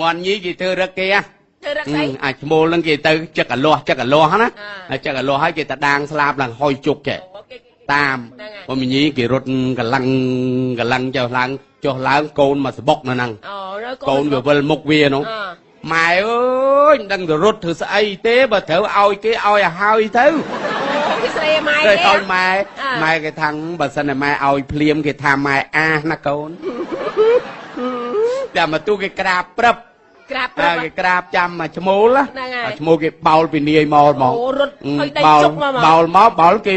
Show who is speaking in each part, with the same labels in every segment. Speaker 1: មាន់ញីគេធ្វើរឹកគេហ៎
Speaker 2: ធ្វើរក
Speaker 1: អឺ
Speaker 2: ស្អី
Speaker 1: អាចឈ្មោលហ្នឹងគេទៅចឹកកលាស់ចឹកកលាស់ណា
Speaker 2: អា
Speaker 1: ហើយចឹកកលាស់ហើយគេទៅដាងស្លាប់ឡើងហុយជុកចេះ
Speaker 2: អូគេគេគេ
Speaker 1: តាម
Speaker 2: ហ្នឹងហើ
Speaker 1: ព
Speaker 2: យ
Speaker 1: មញីគេរត់កលាំងកលាំងចុះឡើងចុះឡើងកូនមកស្បុកនៅហ្នឹង
Speaker 2: អូនៅ
Speaker 1: កូនវាវិលមុខវានោះ
Speaker 2: អឺ
Speaker 1: ម៉ែអើយមិនដឹងទៅរត់ធ្វើស្អីទេបើត្រូវឲ្យគេឲ្យឲ្យហើយទៅ
Speaker 2: អូគេស្រែម៉ែ
Speaker 1: ទៅ
Speaker 2: គេ
Speaker 1: ឲ្យម៉ែ
Speaker 2: អ่า
Speaker 1: ម៉ែគេថាបើសិនតែម៉ែឲ្យភ្លាមគេថាម៉ែអាសណាកូនតែមកទូគេក្រាបព្រឹប
Speaker 2: ក្រាប
Speaker 1: ហើ
Speaker 2: ប្រា
Speaker 1: យ
Speaker 2: ប់
Speaker 1: គេក្រាបចាំមកឈ្មោលណា
Speaker 2: ហ្នឹងហើយ
Speaker 1: អាឈ្មោលគេបោលពីនាយមកហ្មង
Speaker 2: អូរត់ឲ្យដេក
Speaker 1: បោល
Speaker 2: ជុកមកហ្មង
Speaker 1: បោលមកបោលគេ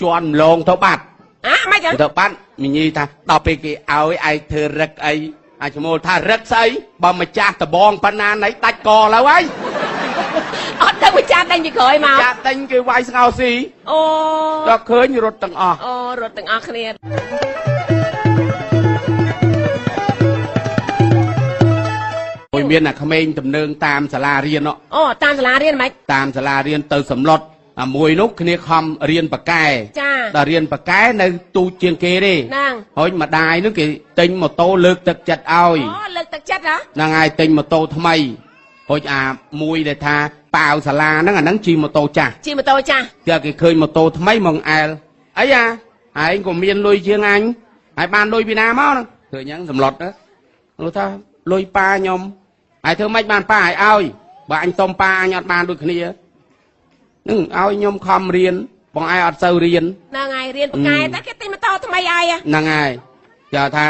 Speaker 1: ជន់ម្លងទៅបាត់
Speaker 2: ហ៎មិនចឹង
Speaker 1: ទៅបាត់មញីថាដល់ពេលគេឲ្យឯងធ្វើរឹកអីអាឈ្មោលថារឹកស្អីបើម្ចាស់ដបងប៉ុណ្ណាណៃដាច់កលើហើយ
Speaker 2: អត់ដឹងវិចារដេញពីក្រោយមក
Speaker 1: ចាក់តែញគេវាយស្ងោស៊ី
Speaker 2: អូ
Speaker 1: ដល់ឃើញរត់ទាំងអស់
Speaker 2: អូរត់ទាំងអស់គ្នា
Speaker 1: មួយមានអាក្មេងទំនើងតាមសាលារៀននោះ
Speaker 2: អូតាមសាលារៀនហ្មង
Speaker 1: តាមសាលារៀនទៅសំឡុតអាមួយនោះគ្នាខំរៀនប៉ាកែ
Speaker 2: ចា
Speaker 1: ដល់រៀនប៉ាកែនៅទូចជាងគេទេ
Speaker 2: ហ្នឹង
Speaker 1: ហើយម្ដាយនោះគេទិញម៉ូតូលើកទឹកចិត្តឲ្យ
Speaker 2: អូលើកទឹកចិត្តហ៎
Speaker 1: ហ្នឹងហើយទិញម៉ូតូថ្មីហូចអាមួយដែលថាប៉ាវសាលាហ្នឹងអាហ្នឹងជិះម៉ូតូចាស់
Speaker 2: ជិះម៉ូតូចាស់
Speaker 1: គេគេឃើញម៉ូតូថ្មីមកអែលអីអាឯងក៏មានលុយជាងអញហើយបានលុយពីណាមកហ្នឹងឃើញហ្នឹងសំឡុតណានោះថាលុយប៉ាខ្ញុំហើយធ្វើម៉េចបានប៉ាឲ្យឲ្យបើអញសុំប៉ាអញអត់បានដូចគ្នាហ្នឹងឲ្យខ្ញុំខំរៀនបងឯងអត់សូវរៀន
Speaker 2: ណងៃរៀនប៉ាកែតែគេទិញម៉ូតូថ្មីឲ្យហ៎
Speaker 1: ហ្នឹងហើយចោលថា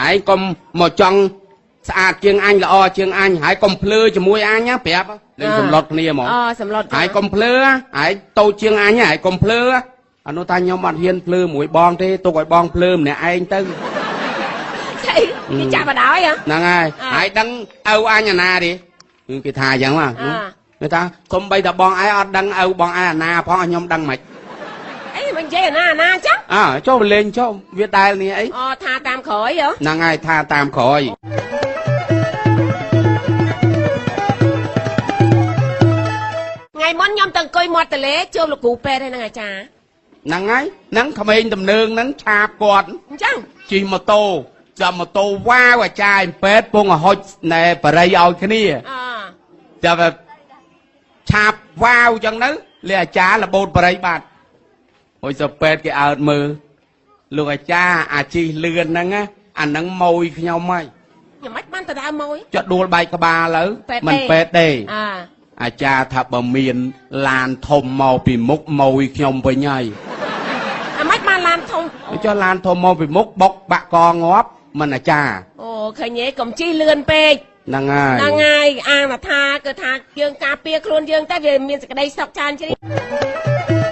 Speaker 1: ហើយកុំមកចង់ស្អាតជាងអញល្អជាងអញហើយកុំភ្លើជាមួយអញណាប្រាប់នឹងសម្លុតគ្នាហ្មង
Speaker 2: អូសំឡុត
Speaker 1: ហើយកុំភ្លើហើយតូចជាងអញហើយកុំភ្លើអនុថាខ្ញុំអត់ហ៊ានភ្លើមួយបងទេទុកឲ្យបងភ្លើម្នាក់ឯងទៅ
Speaker 2: ស្អីគេចាក់បដ ாய் ហ៎
Speaker 1: ហ្នឹងហើយ
Speaker 2: អ่า
Speaker 1: ហើយដឹងឪអញអាណាទេគឺគេថាអញ្ចឹងមក
Speaker 2: អ่า
Speaker 1: គេថាកុំបីតាបងឯងអត់ដឹងឪបងឯងអាណាផងឲ្យខ្ញុំដឹងមិន
Speaker 2: អីមិននិយាយអាណាអាណាអញ្ចឹង
Speaker 1: អើចុះលេងចុះវាដែលនេះអី
Speaker 2: អូថាតាមក្រោយហ៎
Speaker 1: ហ្នឹងហើយថាតាមក្រោយ
Speaker 2: ថ្ងៃមុនខ្ញុំទៅអង្គុយមាត់ទន្លេជួបលោកគ្រូពេទ្យហើយហ្នឹងអាចារ្យ
Speaker 1: ហ្នឹងហើយហ្នឹងក្មេងទំនើងហ្នឹងឆាបគាត់
Speaker 2: អញ្ចឹង
Speaker 1: ជិះម៉ូតូចាំម៉ូតូវ៉ាវអាចារ្យពេទ្យពងហុចណែបរិយឲ្យគ្នា
Speaker 2: អូ
Speaker 1: ចាំថាឆាបវ៉ាវអញ្ចឹងទៅលេអាចារ្យលបូតបរិយបាត់ហុចសពេទ្យគេអើតមើលលោកអាចារ្យអាជីលឿនហ្នឹងណាអាហ្នឹងម៉ួយខ្ញុំហើយ
Speaker 2: ខ្ញុំមិនបានទៅដើមមក
Speaker 1: ចុះដួលបែកក្បាលទៅ
Speaker 2: ពេទ្យ
Speaker 1: មិន
Speaker 2: ទេ
Speaker 1: ពេទ្យទេ
Speaker 2: អើ
Speaker 1: អាចារ្យថាបើមានឡានធំមកពីមុខម៉ួយខ្ញុំវិញហើយ
Speaker 2: អាមិនបានឡានធំ
Speaker 1: អញ្ចុះឡានធំមកពីមុខបុកបាក់កងាប់មិនអាចារ្យ
Speaker 2: អូឃើញទេកុំជីលឿនពេក
Speaker 1: ហ្នឹងហើយ
Speaker 2: ហ្នឹងហើយអាងថាគឺថាយើងការពារខ្លួនយើងតែវាមានសក្តីសុខច្រើនជ្រាល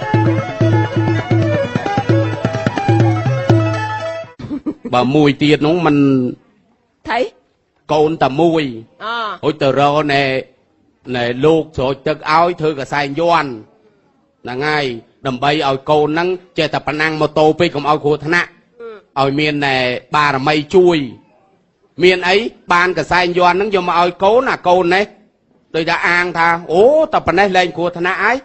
Speaker 1: បើមួយទៀតនោះมัน
Speaker 2: ថៃ
Speaker 1: កូនតែមួយ
Speaker 2: អូ
Speaker 1: ហុចទៅរកណែណែលោកស្រោចទឹកឲ្យធ្វើកសែងយន់ហ្នឹងហើយដើម្បីឲ្យកូនហ្នឹងចេះតែប៉ណ្ណាំងម៉ូតូពេកកុំឲ្យគ្រោះថ្នាក់ឲ្យមានណែបារមីជួយ មានអីបានកសែងយន់ហ្នឹងយកមកឲ្យកូនអាកូននេះដោយតែអាងថាអូតែប៉ណ្ណេះលែងគ្រោះថ្នាក់ហើយ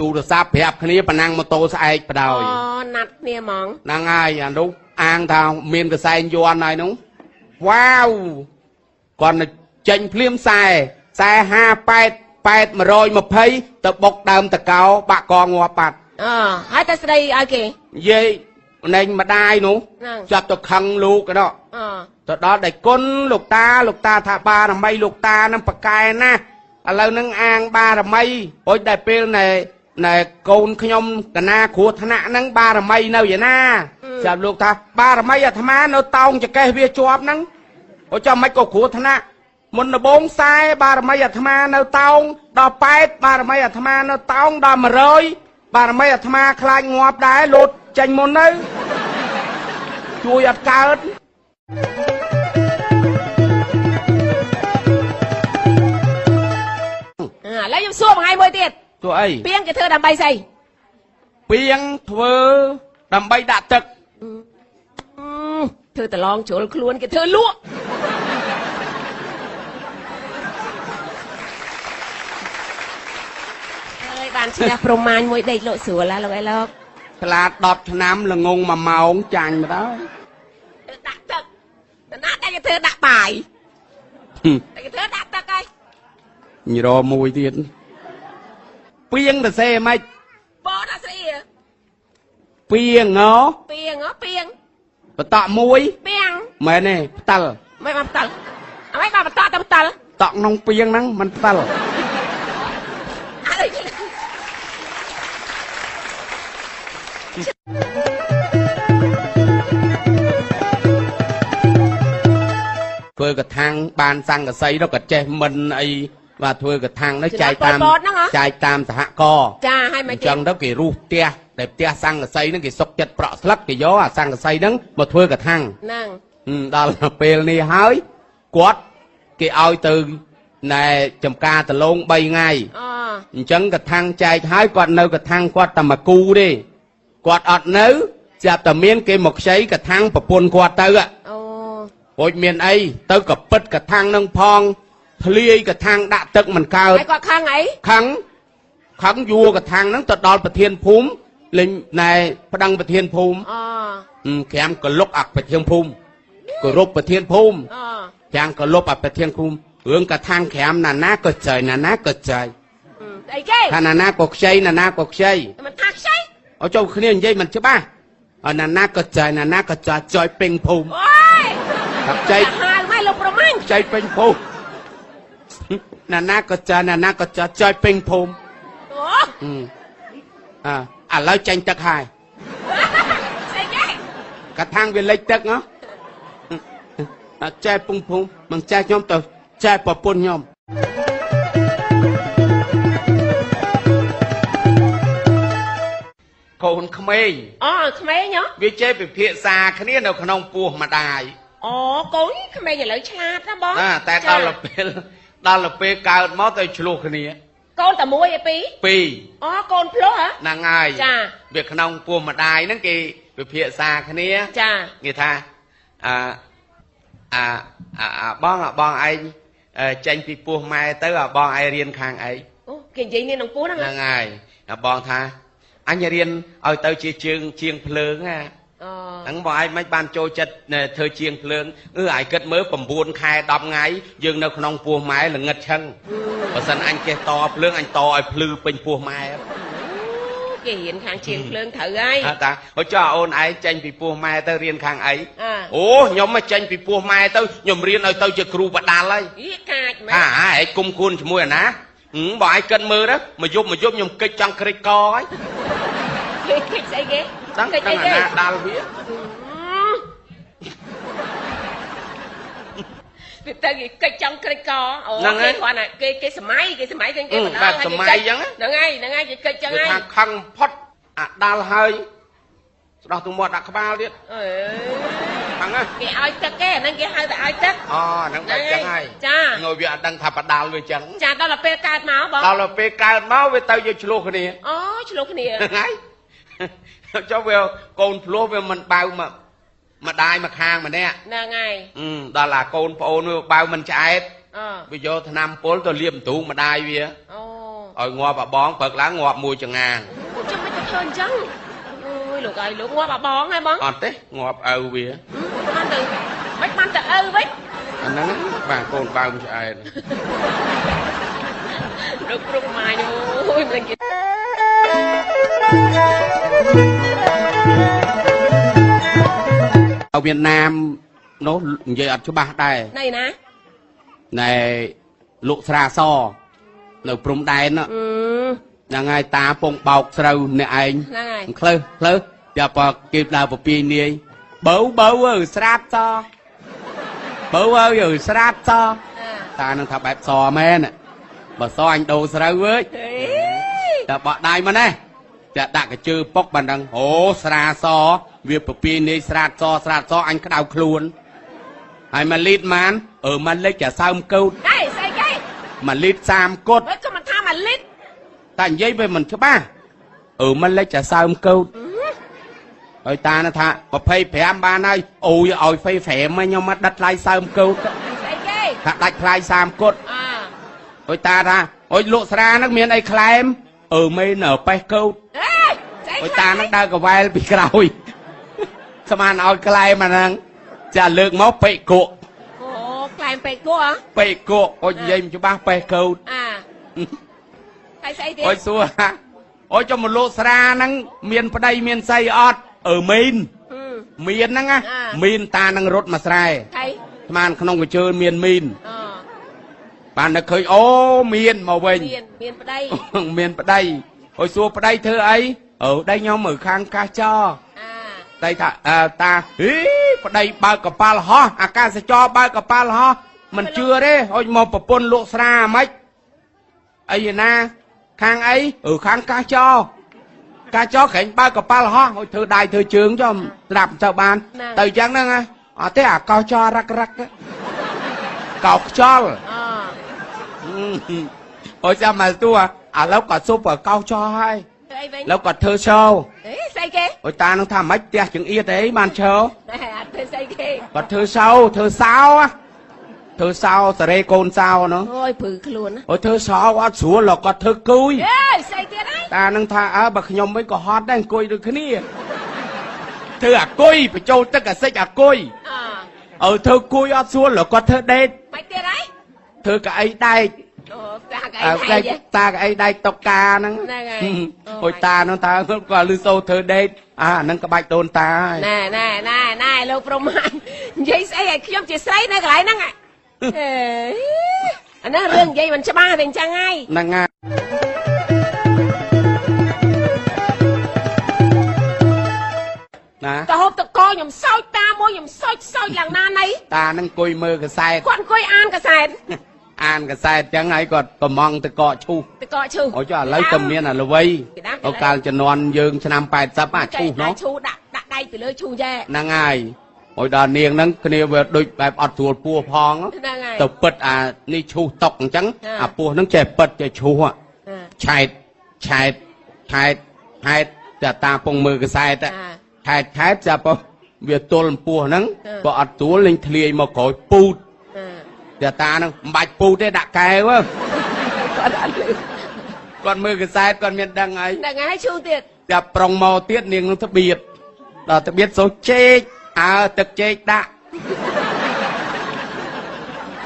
Speaker 1: ទូរស័ព្ទប្រាប់គ្នាប៉ណ្ណាំងម៉ូតូស្អែកបដ ாய்
Speaker 2: អូណាត់គ្នាហ្មង
Speaker 1: ហ្នឹងហើយអានោះអាងថាមានកសែងយន់ហើយនោះវ៉ាវគាត់ទៅចេញភ្លាមខ្សែខ្សែ58 8120ទៅបុកដើមតកោបាក់កងាប់បាត់
Speaker 2: អូហើយតែស្ដីឲ្យគេ
Speaker 1: យាយណែងម្ដាយនោះ
Speaker 2: ហ្នឹង
Speaker 1: ចាប់ទៅខឹងលោកកណោះ
Speaker 2: អ
Speaker 1: ទៅដល់ដៃគុណលោកតាលោកតាថាបារមីលោកតានឹងប្រកែណាស់ឥឡូវនឹងអាងបារមីអុយតែពេលណែណែកូនខ្ញុំកណាគ្រោះថ្នាក់ហ្នឹងបារមីនៅឯណាចា
Speaker 2: ចា
Speaker 1: ប់លោកថាបារមីអាត្មានៅតោងចកេះវាជាប់ហ្នឹងអូចាំមិនក៏គ្រោះថ្នាក់មុនដំបងខ្សែបារមីអាត្មានៅតោងដល់8បារមីអាត្មានៅតោងដល់100បារមីអាត្មាខ្លាចងាប់ដែរលោតចេញមុនទៅជួយអត់កើត
Speaker 2: ឥឡូវខ្ញុំសួរបងឯងមួយទៀត
Speaker 1: ទោះអី
Speaker 2: ពីងគេធ្វើដើម្បីស្អី
Speaker 1: ពីងធ្វើដើម្បីដាក់ទឹក
Speaker 2: អឺធ្វើតឡងជ្រុលខ្លួនគេធ្វើលក់អើយបានឈ្នះប្រមាញមួយដេកលក់ស្រួលហើយលោកឯងលោក
Speaker 1: ឆ្លាត10ឆ្នាំល្ងងមួយម៉ោងចាញ់មកដល់
Speaker 2: ធ្វើដាក់ទឹកដំណាក់តែគេធ្វើដាក់បាយ
Speaker 1: ហឹម
Speaker 2: តែគេធ្វើដាក់ទឹកហើយ
Speaker 1: ញរមួយទៀតពីងទៅសេមិន
Speaker 2: បោដាក់ស្រី
Speaker 1: ពីងហ៎
Speaker 2: ពីងហ៎ពីង
Speaker 1: បតក់មួយ
Speaker 2: ពីង
Speaker 1: មែនទេផ្តិល
Speaker 2: មិនបានផ្ទលអ្វីបានបន្តទៅផ្ទល
Speaker 1: តក់ក្នុងពីងហ្នឹងມັນផ្តិល
Speaker 2: អី
Speaker 1: ធ្វើកថាំងបានសង្កសីនោះក៏ចេះមិនអីបាទធ្វើកថាំងនោះចែកតាមចែកតាមសហគរណ៍
Speaker 2: ចាឲ្យ
Speaker 1: អ
Speaker 2: មកទៀ
Speaker 1: ញ្ចឹ
Speaker 2: ង
Speaker 1: ងទៅគេរូសផ្ទះដែលផ្ទះសង្កសីហ្នឹងគេសុកចិត្តប្រក់ស្លឹកគេយកអាសង្កសីហ្នឹងមកធ្វើកថាំង
Speaker 2: ហ្នឹង
Speaker 1: ហឹមដល់ពេលនេះហើយគាត់គេឲ្យទៅណែចំការដលង3ថ្ងៃ
Speaker 2: អូ
Speaker 1: អញ្ចឹងកថាំងចែកហើយគាត់នៅកថាំងគាត់តែមកគូទេគាត់អត់នៅស្រាប់តែមានគេមកខ្ចីកថាំងប្រពន្ធគាត់ទៅហ្នឹង
Speaker 2: អូ
Speaker 1: រួចមានអីទៅកពិតកថាំងនឹងផងធ្លាយកថាំងដាក់ទឹកមិនកើត
Speaker 2: ហើយគាត់ខឹងអី
Speaker 1: ខឹងខឹងយួរកថាំងហ្នឹងទៅដល់ប្រធានភូមិលេងណែប្តឹងប្រធានភូមិ
Speaker 2: អូ
Speaker 1: អឺក្រាំក៏លុកអាប្រធានភូមិគោរពប្រធានភូមិ
Speaker 2: អូ
Speaker 1: ក្រាំក៏លុបអាប្រធានភូមិរឿងកថាំងក្រាំណាណាក៏ចៃណាណាក៏ចៃ
Speaker 2: អីគេ
Speaker 1: ថាណាណាក៏ខ្ចីណាណាក៏ខ្ចី
Speaker 2: មិនថាខ្ចី
Speaker 1: ឲ្យចូលគ្នានិយាយមិនច្បាស់ឲ្យណាណាក៏ចៃណាណាក៏ចៃចៃពេញភូមិ
Speaker 2: អូយ
Speaker 1: ថាចៃ
Speaker 2: ចាហាលម៉េចលោកប្រមាញ់
Speaker 1: ចៃពេញភូមិណាណាក៏ចាណាណាក៏ចាចៃពេញភូមិ
Speaker 2: អូ
Speaker 1: អឺអាឥឡូវចាញ់ទឹកហើយ
Speaker 2: អីគេ
Speaker 1: កថាំងវាលិចទឹកហ៎អាចៃពងភូមិមិនចៃខ្ញុំទៅចៃប្រពន្ធខ្ញុំកូនក្មេង
Speaker 2: អូក្មេងហ៎
Speaker 1: វាចេះពិភាក្សាគ្នានៅក្នុងពោះម្ដាយ
Speaker 2: អូកូនក្មេងឥឡូវឆ្លាតណាបង
Speaker 1: ណាតែ
Speaker 2: ចា
Speaker 1: ដល់ទៅពេលដល់ទៅពេលកើតមកទៅឆ្លោះគ្នា
Speaker 2: កូនតែមួយឯពីរ
Speaker 1: ពីរ
Speaker 2: អូកូនភ្លោះហ៎
Speaker 1: ហ្នឹងហើយ
Speaker 2: ចា
Speaker 1: វាក្នុងពោះម្ដាយហ្នឹងគេពិភាក្សាគ្នា
Speaker 2: ចា
Speaker 1: គេថាអអាអាអាបងអាបងឯងអឺចេញពីពោះម៉ែទៅអាបងឯងរៀនខាងឯង
Speaker 2: អូគេនិយាយគ្នានឹងពូហ្នឹងហ៎
Speaker 1: ហ្នឹងហើយអាបងថាអញរៀនឲ្យទៅជាជើងជាងភ្លើងណា
Speaker 2: អូ
Speaker 1: ហ្នឹងបងឯងមិនបានចូលចិត្តណែធ្វើជាងភ្លើងអឺឯងគិតមើល9ខែ10ថ្ងៃយើងនៅក្នុងពោះម៉ែល្ងិតឆឹងបើសិនអញចេះតភ្លើងអញតឲ្យភ្លឺពេញពោះម៉ែ
Speaker 2: គេរៀនខាងជាងភ្លើងត្រូវហើយ
Speaker 1: ហៅតាអូចុះអូនឯងចេញពីពោះម៉ែទៅរៀនខាងអី
Speaker 2: អា
Speaker 1: អូខ្ញុំមកចេញពីពោះម៉ែទៅខ្ញុំរៀនឲ្យទៅជាគ្រូបដាលហើយ
Speaker 2: អីកាចមែន
Speaker 1: អាហែកគុំគួនជាមួយអាណាហឹមបើឯងកិនមើលទៅមកយប់មកយប់ខ្ញុំកិច្ចចង់ក្រិចកហើយ
Speaker 2: គេគេស្អីគេ
Speaker 1: ដឹង
Speaker 2: គេ
Speaker 1: ដឹងអា
Speaker 2: អីគេ
Speaker 1: ណាដាល់វា
Speaker 2: ពីទៅគេកិច្ចចង់ក្រិចកអូគេគាត់ណាគេគេសម័យគេសម័យទាំងគេបណ្ដាហ្នឹងហើយហ្នឹងហើយគេកិច្ចចឹង
Speaker 1: គេ
Speaker 2: ហើយ
Speaker 1: ថាខឹងបំផុតអាដាល់ហើយស្ដោះទៅមាត់ដាក់ក្បាលទៀត
Speaker 2: អ
Speaker 1: ខឹងហ៎
Speaker 2: េគេឲ្យទឹកគេហ្នឹងគេហៅតែឲ្យទឹក
Speaker 1: អូហ្នឹងបែបចឹងហើយ
Speaker 2: ចា
Speaker 1: ងើវាអត់ដឹងថាបដាលវាចឹង
Speaker 2: ចាដល់ទៅពេលកើតមកបង
Speaker 1: ដល់ទៅពេលកើតមកវាទៅយកឆ្លោះគ្នា
Speaker 2: អូឆ្លោះគ្នា
Speaker 1: ហ្នឹង ហើយចុះវាកូនភ្លោះវាមិនបៅមកម្ដាយមកខាងម្នាក់
Speaker 2: ហ្នឹងហើយ
Speaker 1: អឺដល់ឡាកូនប្អូនវាបៅមិនឆ្អែត
Speaker 2: អ
Speaker 1: វាយកថ្នាំពុលទៅលាបទ្រូងម្ដាយវា
Speaker 2: អូ
Speaker 1: ឲ្យងាប់អាបងព្រឹកឡើងងាប់មួយចង្អាង
Speaker 2: ចាំមិនទៅធ្វើអញ្ចឹងអូយលោកអើយលោកងាប់អាបងហើយបង
Speaker 1: អត់ទេងាប់ឪវា
Speaker 2: បានទៅមិនបានទៅអើវិញ
Speaker 1: អាហ្នឹងបាទកូនបៅមិនឆ្អែត
Speaker 2: លោកគ្រុកម៉ាយអូយមិនគេ
Speaker 1: ទៅវៀតណាមនោះនិយាយអត់ច្បាស់ដែរ
Speaker 2: ណៃណា
Speaker 1: ណែលោកស្រាសនៅព្រំដែន
Speaker 2: អឺ
Speaker 1: ហ្នឹងហើយតាពងបោកស្រូវអ្នកឯង
Speaker 2: ហ្នឹងហើយ
Speaker 1: ខ្លើសខ្លើសយ៉ាប៉គេដើរពពាយនាយបើបើអើយស្រាប់សបើអើយអើយស្រាប់ស
Speaker 2: ណា
Speaker 1: តានឹងថាបែបសមែនបើសអញដូរស្រូវអើយ
Speaker 2: ហេ
Speaker 1: តែបក់ដៃមកណេះតែដាក់កញ្ជើពុកបានដឹងអូស្រាសវាពពាយនាយស្រាប់សស្រាប់សអញក្តៅខ្លួនហើយមួយលីត្រម៉ានអឺមួយលីត្រចាសើមកោត
Speaker 2: ដៃស្អីគេ
Speaker 1: មួយលីត្រ30គត់
Speaker 2: មិនក៏មិនថាមួយលីត្រ
Speaker 1: តែនិយាយវាមិនច្បាស់អឺមួយលីត្រចាសើមកោត
Speaker 2: អឺ
Speaker 1: ហើយតាណថា25បានហើយអូយឲ្យហ្វេហ្វ្រេមមកខ្ញុំមកដិតថ្លៃសើមកូត
Speaker 2: ស្អីគេ
Speaker 1: ថាដាច់ថ្លៃ30គត់
Speaker 2: អើ
Speaker 1: ហើយតាថាអុយលក់ស្រាហ្នឹងមានអីក្លែមអឺមែនអើប៉េះកូត
Speaker 2: អេស្អី
Speaker 1: អុយតានឹងដើរកវែលពីក្រោយ ស្មានឲ្យក្លែមកហ្នឹងចាលើកមកពេកគក់
Speaker 2: អូខ្លែងពេកគក់ហ៎
Speaker 1: ពេកគក់អុយនិយាយមិនច្បាស់ពេះកោត
Speaker 2: អាហើយស្អីទៀត
Speaker 1: អុយសួរហាអុយចុះមកលោកស្រាហ្នឹងមានប្តីមានស្រីអត់អឺមីន
Speaker 2: ហឹម
Speaker 1: មានហ្នឹងណា
Speaker 2: អ่า
Speaker 1: មីនតានឹងរត់មកស្រែ
Speaker 2: ហើយ
Speaker 1: ស្មានក្នុងកញ្ជើមានមីន
Speaker 2: អូ
Speaker 1: បានតែឃើញអូមានមកវិញ
Speaker 2: មានមានប្តី
Speaker 1: មានប្តីអុយសួរប្តីធ្វើអីអឺប្តីខ្ញុំមើលខាងកាសចោ
Speaker 2: អា
Speaker 1: តែថាអើតាហីប្តីបើកកប៉ាល់ហោះអាកាសចរបើកកប៉ាល់ហោះមិនជឿទេអុយមកប្រពន្ធលោកស្រាហ្មិចអីណាខាងអីអឺខាងកាសចរកាសចរក្រែងបើកកប៉ាល់ហោះអុយធ្វើដៃធ្វើជើងចុះស្ដាប់ទៅបាន ទៅយ៉ាងហ្នឹងហ៎អត់ទេអាកាសចររឹករឹកកោខ្យល់
Speaker 2: អូ
Speaker 1: អុយចាំមកទួឥឡូវក៏សុបកោចរហើយ
Speaker 2: ធ្វើអីវិញ
Speaker 1: ឥឡូវក៏ធ្វើឈោ
Speaker 2: អេស្អីគេ
Speaker 1: អុយតានឹងថាម៉េចផ្ទះចង្អៀតអីបានឈោ
Speaker 2: តែអត់ធ្វើស្អីគេ
Speaker 1: គាត់ធ្វើសោធ្វើសោហ៎ធ្វើសោសារេកូនសោណោះ
Speaker 2: អូយព្រឺខ្លួនណា
Speaker 1: អូធ្វើសោអត់ស្រួលលោកគាត់ធ្វើគួយ
Speaker 2: អេស្អីទៀតហើយ
Speaker 1: តានឹងថាអើបើខ្ញុំវិញក៏ហត់ដែរអង្គុយដូចគ្នាធ្វើអាគុយបញ្ចូលទឹកអាសិចអាគុយ
Speaker 2: អូ
Speaker 1: អើធ្វើគួយអត់ស្រួលលោកគាត់ធ្វើដេក
Speaker 2: មិនទៀតហើយ
Speaker 1: ធ្វើកៅអីដែក
Speaker 2: អូតាក
Speaker 1: អើ
Speaker 2: អី
Speaker 1: ដែក
Speaker 2: ហែក
Speaker 1: តាកៅអីដែកតុកកាហ្នឹង
Speaker 2: ហ្នឹង
Speaker 1: ហឹម
Speaker 2: ហើយអូ
Speaker 1: អូយតានឹងថាគាត់លឺសូរធ្វើដេកអាហ្នឹងក្បាច់ដូនតាហើយ
Speaker 2: ណែណែណែណែលោកប្រមាញ់និ យាយស្អីឲ្យខ្ញុំជាស្រីនៅកន្លែងហ្នឹងអ่ะអេអាហ្នឹងរឿងនិយាយមិនច្បាស់ទេអញ្ចឹងហើយ
Speaker 1: ហ្នឹងហើយណា
Speaker 2: ទៅហូបទឹកកកខ្ញុំសោចតាមួយខ្ញុំសោចសោចឡើងណាណៃ
Speaker 1: តាហ្នឹងអង្គុយមើលកសែ ត
Speaker 2: គាត់អង្គុយអានកសែត
Speaker 1: អានកសែតចឹងហើយគាត់ប្រមងទៅកកឈូស
Speaker 2: ទឹកកកឈូ
Speaker 1: អូចុះឥឡូវទៅមានអាល្វី
Speaker 2: គេដាក់គេដាក់
Speaker 1: អូកាលជំនាន់យើងឆ្នាំ80អាឈូស
Speaker 2: ដៃ
Speaker 1: នោះ
Speaker 2: ឈូដាក់ដាក់ដៃពីលើឈូយ៉ែ
Speaker 1: ហ្នឹងហើយអូយដល់នាងហ្នឹងគ្នាវាដូចបែបអត់ស្រួលពោះផង
Speaker 2: ហ្នឹងហើយ
Speaker 1: ទៅពិតអានេះឈូសតុកអញ្ចឹង
Speaker 2: ចា
Speaker 1: អាពោះហ្នឹងចេះពិតចេះឈូសហ่ะ
Speaker 2: អា
Speaker 1: ឆែតឆែតឆែតឆែតតែតាពងមើលកសែត
Speaker 2: អា
Speaker 1: ឆែតឆែតចាប៉ុវាទល់ពោះហ្នឹង
Speaker 2: អឺ
Speaker 1: បើអត់ទួលលេងធ្លាយមកក្រោយពូត
Speaker 2: អា
Speaker 1: តែតាហ្នឹងមិនបាច់ពូតទេដាក់កែវហ៎
Speaker 2: គាត់អត់លឺ
Speaker 1: គាត់មើលកសែតគាត់មានដឹងហើយ
Speaker 2: ហ្នឹងហើយឈូទៀត
Speaker 1: តែប្រុងមកទៀតនាងនឹងត្បៀតដល់ត្បៀតសូជែកអើទឹកជែកដាក់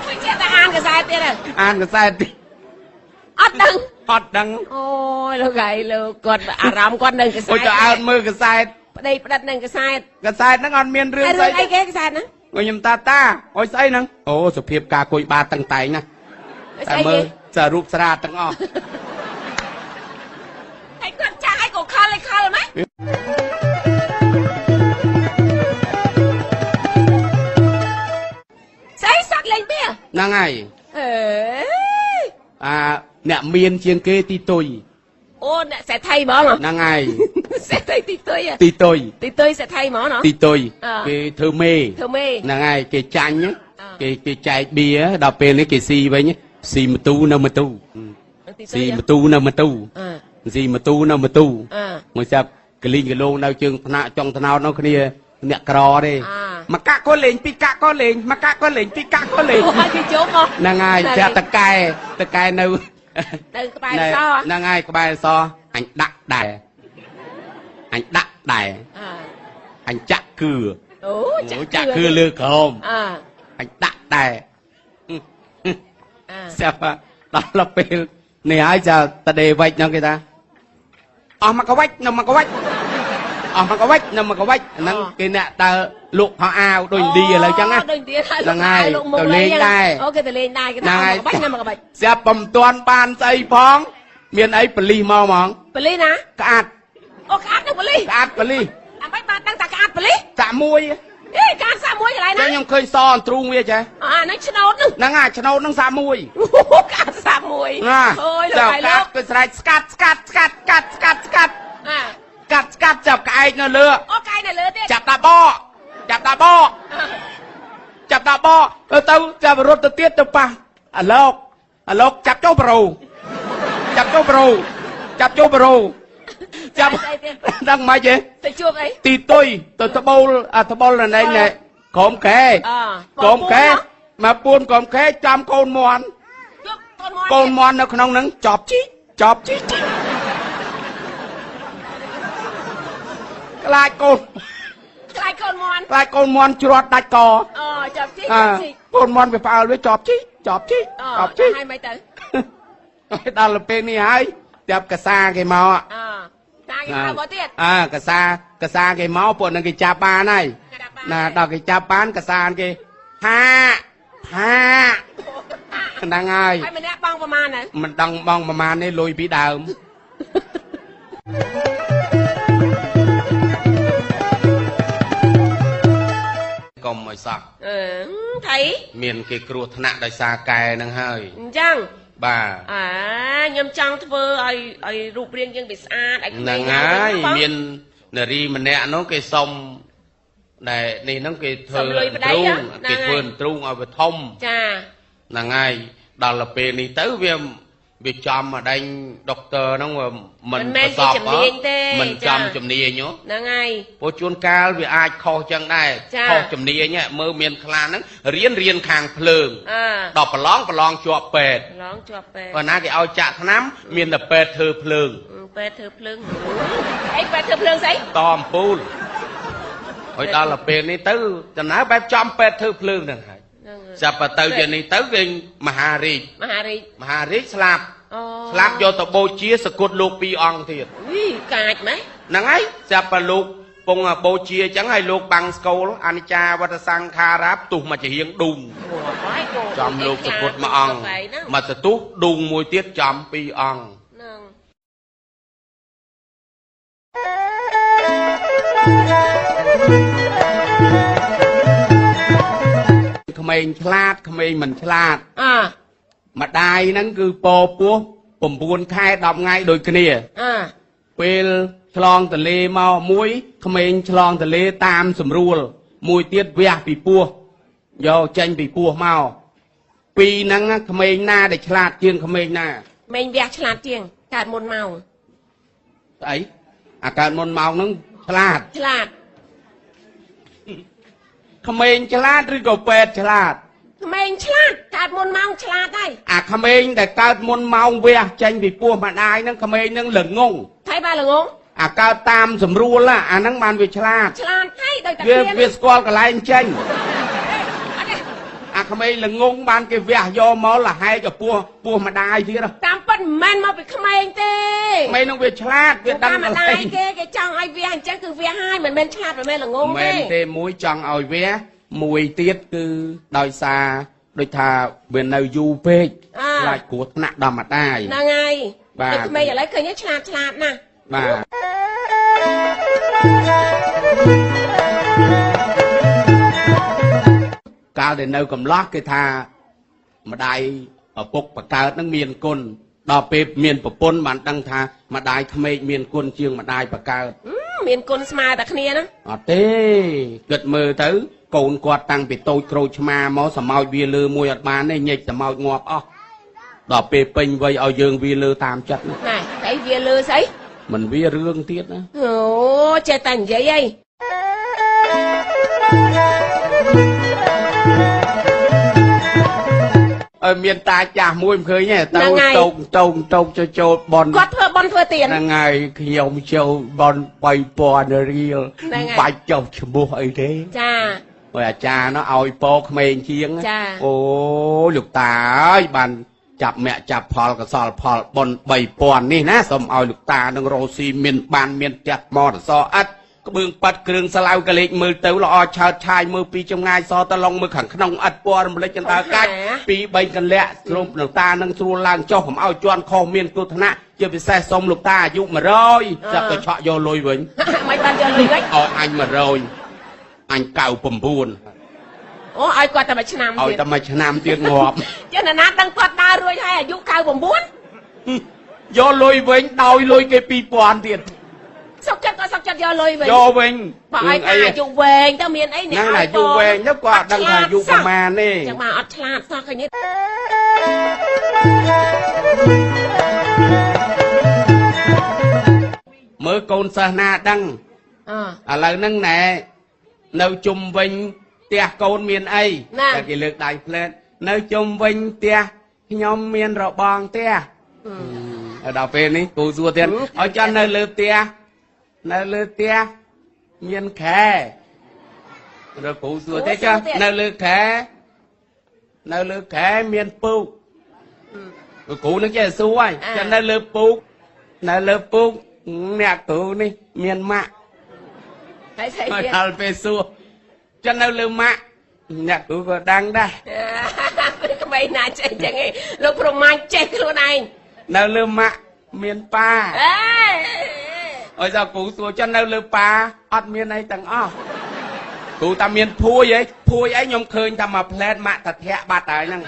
Speaker 2: មិនចេះតែអានកសែតទៀតហ៎
Speaker 1: អានកសែតទៀត
Speaker 2: អត់ដឹង
Speaker 1: អត់ដឹង
Speaker 2: អូយលោកហើយលោកគាត់អារម្មណ៍គាត់នឹងកសែ
Speaker 1: អូ
Speaker 2: ត
Speaker 1: ចទៅអើមើលកសែត
Speaker 2: ប្តីប្តិតនឹងកសែត
Speaker 1: កសែតហ្នឹងអត់មានរឿង
Speaker 2: តែ
Speaker 1: ស្អ
Speaker 2: រឿងអី
Speaker 1: ី
Speaker 2: គេកសែតហ្នឹង
Speaker 1: អុយខ្ញុំតាតាអុយស្អីហ្នឹងអូសុភាពការគួយបាតតឹងតែងណា
Speaker 2: ស្អី
Speaker 1: មើ
Speaker 2: គេ
Speaker 1: លសាររូបស្រាទាំងអស់
Speaker 2: ហើយគាត់ចាស់ហើយក៏ខលហើយខលម៉េចស្អីសក់លេងវា
Speaker 1: ហ្នឹងហើយ
Speaker 2: អេ
Speaker 1: អាអ្នកមានជាងគេទីតុយ
Speaker 2: អូអ្នកសេដ្ឋីហ្មង ហ៎
Speaker 1: ហ្នឹងហើយ
Speaker 2: សេដ្ឋីទីទុយហ៎
Speaker 1: ទីតុយ
Speaker 2: ទីទុយសេដ្ឋីហ្មងណ៎
Speaker 1: ទីតុយ
Speaker 2: អ่า
Speaker 1: គេធ្វើមេ
Speaker 2: ធ្វើមេ
Speaker 1: ហ្នឹងហើយគេចាញ់ណា
Speaker 2: អ่า
Speaker 1: គេគេចែកបៀដល់ពេលនេះគេស៊ីវិញស៊ីមតូនៅមតូ
Speaker 2: ទីទុ
Speaker 1: ស៊ី
Speaker 2: យ
Speaker 1: មតូនៅមតូ
Speaker 2: អឺ
Speaker 1: ស៊ីមតូនៅមតូ
Speaker 2: អឺ
Speaker 1: មកចាប់កលីងកលងនៅជើងថ្នាក់ចុងថ្នោតនោះគ្នាអ្នកក្រទេ
Speaker 2: អ่า
Speaker 1: មកកាក់ក៏លេងពីរកាក់ក៏លេងមកកាក់ក៏លេងពីរកាក់ក៏លេង
Speaker 2: អូគេជុំហ៎
Speaker 1: ហ្នឹងហើយចាក់តកែតកែនៅ
Speaker 2: ទៅក្បែរសអ
Speaker 1: ហ្នឹងហើយក្បែរសអញដាក់ដែរអញដាក់ដែរ
Speaker 2: អើ
Speaker 1: អញចាក់គឿ
Speaker 2: អូ
Speaker 1: អូ
Speaker 2: ចា
Speaker 1: ចា
Speaker 2: ក់
Speaker 1: ក់គឿលើក្រោម
Speaker 2: អើ
Speaker 1: អញដាក់ដែរ
Speaker 2: អើ
Speaker 1: ស្អាប់ដល់ទៅពេលនេះហើយចាតដេវិចហ្នឹងគេថាអស់មកកវិចនៅមកកវិចអស់មកកវិចនៅមកកវិចហ្នឹងគេអ្នកដើរលក់ផោអាវដូចឥណ្ឌីឥឡូវចឹងណា
Speaker 2: ដូចឥណ្ឌាហើយ
Speaker 1: ហ្នឹងហើយ
Speaker 2: លោកមុំ
Speaker 1: ទៅលេងដែរ
Speaker 2: អូគេទៅលេងដែរគេ
Speaker 1: ហ្នឹង
Speaker 2: ថា
Speaker 1: ហើយ
Speaker 2: មកបាច់ណាមកបាច់
Speaker 1: ស្អាប់បំទាន់បានស្អីផង មានអីបលិសមកហ្មង
Speaker 2: បលីណា
Speaker 1: ក្អាត់
Speaker 2: អូក្អាត់នឹងបលី
Speaker 1: ស្អាតបលី
Speaker 2: អាមិនបានដឹងថាក្អាត់បលី
Speaker 1: សាក់មួយ
Speaker 2: អេក្អាត់សាក់មួយកន្លែង
Speaker 1: ចឹង
Speaker 2: ណា
Speaker 1: ខ្ញុំឃើញសអន្ទ្រូងវាចេះ
Speaker 2: អូអាហ្នឹងឆ្នោត នោះ
Speaker 1: ហ្នឹងអាឆ្នោតហ្នឹងសាក់មួយ
Speaker 2: អូក្អាត់សាក់មួយ
Speaker 1: ណា
Speaker 2: អូយលោកហើយ
Speaker 1: កា
Speaker 2: លោក
Speaker 1: ត់ទៅស្រែកស្កាត់ស្កាត់ស្កាត់ស្កាត់ស្កាត់ស្កាត់
Speaker 2: អើ
Speaker 1: ស្កាត់ស្កាត់ចាប់ក្អែកនៅលើ
Speaker 2: អូកាយនៅលើទៀត
Speaker 1: ចាប់តាបកចាប់តាបក
Speaker 2: អើ
Speaker 1: ចាប់តាបកទៅទៅចាប់រត់ទៅទៀតទៅប៉ះអាឡោកអាឡោកចាប់ចូលប្រូចាប់ចូលប្រូចាប់ចូលប្រូចាប់
Speaker 2: ស្អីទៀត
Speaker 1: ដឹងមិនទេ
Speaker 2: ទៅជួបអី
Speaker 1: ទីតុយទៅត្បូលអាត្បូលណែណែក្រុមកែ
Speaker 2: អើ
Speaker 1: កុំខែមកពួនកុំខែចាំកូនមន់
Speaker 2: ជួបកូនមក
Speaker 1: កូនមន់នៅក្នុងហ្នឹងចប់ជីចប់ជីជី ខ្លាចកូន
Speaker 2: ខ្លាចកូនមន់
Speaker 1: ខ្លាចកូនមន់ជ្រត់ដាច់ក
Speaker 2: អូចាប់ជី
Speaker 1: អើ
Speaker 2: ចាប់ជី
Speaker 1: កូនមន់វាផ្អើលវាចប់ជីចប់ជី
Speaker 2: អូ
Speaker 1: ច
Speaker 2: ច
Speaker 1: ប់ជី
Speaker 2: ាប់ឲ្យមិនទៅ
Speaker 1: ហើយដល់ទៅពេលនេះហើយតាប់កសាគេមក
Speaker 2: អូតាគេមកមកទៀត
Speaker 1: អាកសាកសាគេមកពួកនឹងគេចាប់បានហើយណាដល់គេចាប់បានកសាគេហាហាហ្នឹងហើយ
Speaker 2: ឲ្យម្នាក់បងប្រមាណណា
Speaker 1: មិនដឹងបងប្រមាណនេះលុយពីដើម កុំឲ្យសោះ
Speaker 2: អឺថៃ
Speaker 1: មានគេគ្រោះថ្នាក់ដោយសារកែហ្នឹងហើយ
Speaker 2: អញ្ចឹង
Speaker 1: បាទ
Speaker 2: អាខ្ញុំចង់ធ្វើឲ្យឲ្យរូបរាងយើងវាស្អាតឲ្យក្មេ
Speaker 1: ហ្នឹង ងហើយ
Speaker 2: បង
Speaker 1: មាននារីម្នាក់ហ្នឹងគេសុំដែលនេះហ្នឹងគេធ្វើ
Speaker 2: សុំលុយប្តី
Speaker 1: ទ្រូង
Speaker 2: ណា
Speaker 1: គេធ្វើ
Speaker 2: ហ្នឹងហើយ
Speaker 1: ទ្រូងឲ្យវាធំ
Speaker 2: ចា
Speaker 1: ហ្នឹងហើយដល់ទៅពេលនេះទៅវាវាចំមកដេញដុកទ័រហ្នឹងវាមិនប្រសពហ៎មិនចំជំនាញហ៎
Speaker 2: ហ្នឹងហើយ
Speaker 1: ព្រោះជួនកាលវាអាចខុសចឹងដែរ
Speaker 2: ចា
Speaker 1: ខុសជំនាញហ៎មើលមានខ្លះហ្នឹងរៀនរៀនខាងភ្លើង
Speaker 2: អើ
Speaker 1: ដល់ប្រឡងប្រឡងជាប់ពេទ្យ
Speaker 2: ឡងជាប់ពេទ្យ
Speaker 1: បើណាគេឲ្យចាក់ថ្នាំ មានតែពេទ្យធ្វើភ្លើង
Speaker 2: អឺពេទ្យធ្វើភ្លើងអីពេទ្យធ្វើភ្លើងស្អី
Speaker 1: តអំពូលហើយដល់ទៅពេលនេះទៅចំណាយបែបចំពេទ្យធ្វើភ្លើងហ្នឹងហើយ
Speaker 2: ហ្នឹងហើយ
Speaker 1: ចាប់បើទៅជានេះទៅគេមហារាជ
Speaker 2: មហារាជ
Speaker 1: មហារាជស្លាប់
Speaker 2: អូ
Speaker 1: ស្លាប់យកទៅបូជាសគុតលោកពីរអង្គទៀត
Speaker 2: វីកាចម៉េះ
Speaker 1: ហ្នឹងហើយចាប់ប្រលោកពងបូជាអញ្ចឹងហើយលោកបាំងស្កូលអនិច្ចាវត្តសង្ខារាផ្ទុះមកជារៀងឌុង
Speaker 2: អូបាយគោ
Speaker 1: ចំលោកសគុតមួយអង្គ
Speaker 2: ហ្នឹង
Speaker 1: មកទៅទុះឌុងមួយទៀតចំពីរអង្គ
Speaker 2: ហ្នឹង
Speaker 1: ក្មេងឆ្លាតក្មេងមិនឆ្លាត
Speaker 2: អើ
Speaker 1: ម្ដាយហ្នឹងគឺពពោះ9ខែ10ថ្ងៃដូចគ្នា
Speaker 2: អើ
Speaker 1: ពេលឆ្លងទលេមកមួយក្មេងឆ្លងទលេតាមស្រួល មួយទៀតវះពីពោះយកចេញពីពោះមកពីរហ្នឹងណាក្មេងណាដែលឆ្លាតជាងក្មេងណា
Speaker 2: មេញវះឆ្លាតជាងកើតមុនមក
Speaker 1: ស្អីអាកើតមុនមកហ្នឹងឆ្លាត
Speaker 2: ឆ្លាត
Speaker 1: ក្មេងឆ្លាតឬក៏ពេទ្យឆ្លាត
Speaker 2: ក្មេងឆ្លាតកើតមុនមកឆ្លាតហើយ
Speaker 1: អាក្មេងដែលកើតមុនម៉ោងវះចេញពីពោះម្ដាយហ្នឹងក្មេងហ្នឹងល្ងង
Speaker 2: ថៃបានល្ងង
Speaker 1: អាកើតតាមស្រួលណាអាហ្នឹងបានវាឆ្លាត
Speaker 2: ឆ្លាតថៃដោយតា
Speaker 1: វា
Speaker 2: ឃ្លៀ
Speaker 1: វា
Speaker 2: ន
Speaker 1: ស្គាល់កន្លែងចេញ
Speaker 2: អ
Speaker 1: អា
Speaker 2: ត់ទេ
Speaker 1: ក្មេងល្ងងបានគេវះយកមកលហែកពោះពោះម្ដាយទៀតហ៎
Speaker 2: តាមពិតមិនមែនមកពីក្មេងទេ
Speaker 1: ក្មេងនឹងវាឆ្លាតវាដឹង
Speaker 2: តាម
Speaker 1: ក
Speaker 2: ម្
Speaker 1: ន្លែ
Speaker 2: ដាយ
Speaker 1: ង
Speaker 2: គេគេចង់ឲ្យវាអញ្ចឹងគឺវាហើយមិនមែនឆ្លាតមិនមែនល្ងង
Speaker 1: មែ
Speaker 2: ទេ
Speaker 1: នទេមួយចង់ឲ្យវាមួយទៀតគឺដោយសារដូចថាវានៅយូរពេក
Speaker 2: អើ
Speaker 1: ខ្លាចគ្រោះថ្នាក់ដល់ម្ដាយ
Speaker 2: ហ្នឹងហើយ
Speaker 1: បាទ
Speaker 2: តែក្មេងឥឡូវឃើញទេឆ្លាតឆ្លាតណាស់
Speaker 1: បាទកាលដែលនៅកំឡោះគេថាម្ដាយឪពុកបកកើតនឹងមានគុណដល់ពេលមានប្រពន្ធបានដឹងថាម្ដាយក្មេកមានគុណជាងម្ដាយបកកើត
Speaker 2: ហ៊ឹមមានគុណស្មើតែគ្នាណា
Speaker 1: អត់ទេគិតមើលទៅ កូនគាត់តាំងពីតូចក្រូចឆ្មាមកសម្អោចវាលើមួយអត់បានទេញែកសម្អោចងាប់អស់ដល់ពេលពេញវ័យឲ្យយើងវាលើតាមចិត្តណា
Speaker 2: ណែតែវាលើស្អី
Speaker 1: មិនវារឿងទៀតណា
Speaker 2: អូចេះតែនិយាយអី
Speaker 1: អើមានតាចាស់មួយមិនឃើញទេទៅតោកតោកតោកចូលចូលបន
Speaker 2: គាត់ធ្វើបន់ធ្វើទៀន
Speaker 1: ហ្នឹងហើយខ្ញុំចូលបន3000រៀល
Speaker 2: ហ្នឹងហើយ
Speaker 1: បាច់ចុះឈ្មោះអីទេ
Speaker 2: ចា
Speaker 1: ហើយអាចារ្យនោះឲ្យពោក្មេងជាង
Speaker 2: ចា
Speaker 1: អូលោកតាអើយបានចាប់មាក់ចាប់ផលកសលផលប៉ុន3000នេះណាសូមឲ្យលោកតានឹងរស់ស៊ីមានបានមានផ្ទះមរសអឥតក្បឿងប៉ាត់គ្រឿងស្លាវកលេចមើលទៅល្អឆើតឆាយមើលពីចម្ងាយសតឡុងមើលខាងក្នុងអិតពណ៌រំលេចចន្ទើកាច់ពី3កន្លះស្រុំលោកតានឹងស្រួលឡើងចុះកុំឲ្យជន់ខុសមានគ្រោះថ្នាក់ជាពិសេសសូមលោកតាអាយុ100ចាប់ទៅឆក់យកលុយវិញ
Speaker 2: មិនបានយកលុយវិញ
Speaker 1: ឲ្យអញ100អញ99
Speaker 2: អូឲ្យគាត់តែមួយឆ្នាំ
Speaker 1: ឲ្យ
Speaker 2: ទៀត
Speaker 1: តែមួយឆ្នាំទៀតងាប់
Speaker 2: ចេះណានាដឹងគាត់ដើររួចហើយអាយុ99
Speaker 1: យកលុយវិញដោយលុយគេ2000ទៀត
Speaker 2: សុខចិត្តក៏សុខចិត្តយកលុយវិញ
Speaker 1: យកវិញ
Speaker 2: បើឲ្យថាអាយុវែងទៅមានអី
Speaker 1: ហ្នឹងអាយុវែងទៅគាត់ដឹងថាអាយុប្រមាណទេ
Speaker 2: ចឹងមកអត់ឆ្លាតសោះឃើញទេ
Speaker 1: មើលកូនសិស្សណាដឹង
Speaker 2: អឺ
Speaker 1: ឥឡូវហ្នឹងណែនៅជុំវិញផ្ទះកូនមានអី
Speaker 2: ណា
Speaker 1: តែគេលើកដៃផ្លែតនៅជុំវិញផ្ទះខ្ញុំមានរបងផ្ទះ
Speaker 2: អឺ
Speaker 1: ហើយដល់ពេលនេះគូសួរទៀតឲ្យចន់នៅលើផ្ទះនៅលើផ្ទះ មានខែរកគ្រូសួរទេចា
Speaker 2: គ្រូសួរទៀត
Speaker 1: នៅលើខែនៅលើខែមានពូកលោកគ្រូនឹងចេះសួរហើយ
Speaker 2: អ่า
Speaker 1: ចានៅលើពូកនៅលើពូកអ្នកគ្រូនេះមានម៉ាក់
Speaker 2: ហើយស្អី
Speaker 1: មក
Speaker 2: ទៀត
Speaker 1: ដល់ពេលសួរចានៅលើម៉ាក់អ្នកគ្រូក៏ដឹងដែរ
Speaker 2: ពេល ក្មេងណាចេះចឹងឯងលោកប្រមាញ់ចេះខ្លួនឯង
Speaker 1: នៅលើម៉ាក់មានប៉ា
Speaker 2: អេ
Speaker 1: អើយដល់គ្រូសួរចានៅលើប៉ាអត់មានអីទាំងអស់គ្រូតាមានភួយហីភួយអីខ្ញុំឃើញតែមកផ្លែតម៉ាក់តាធាក់បាត់ហើយហ្នឹង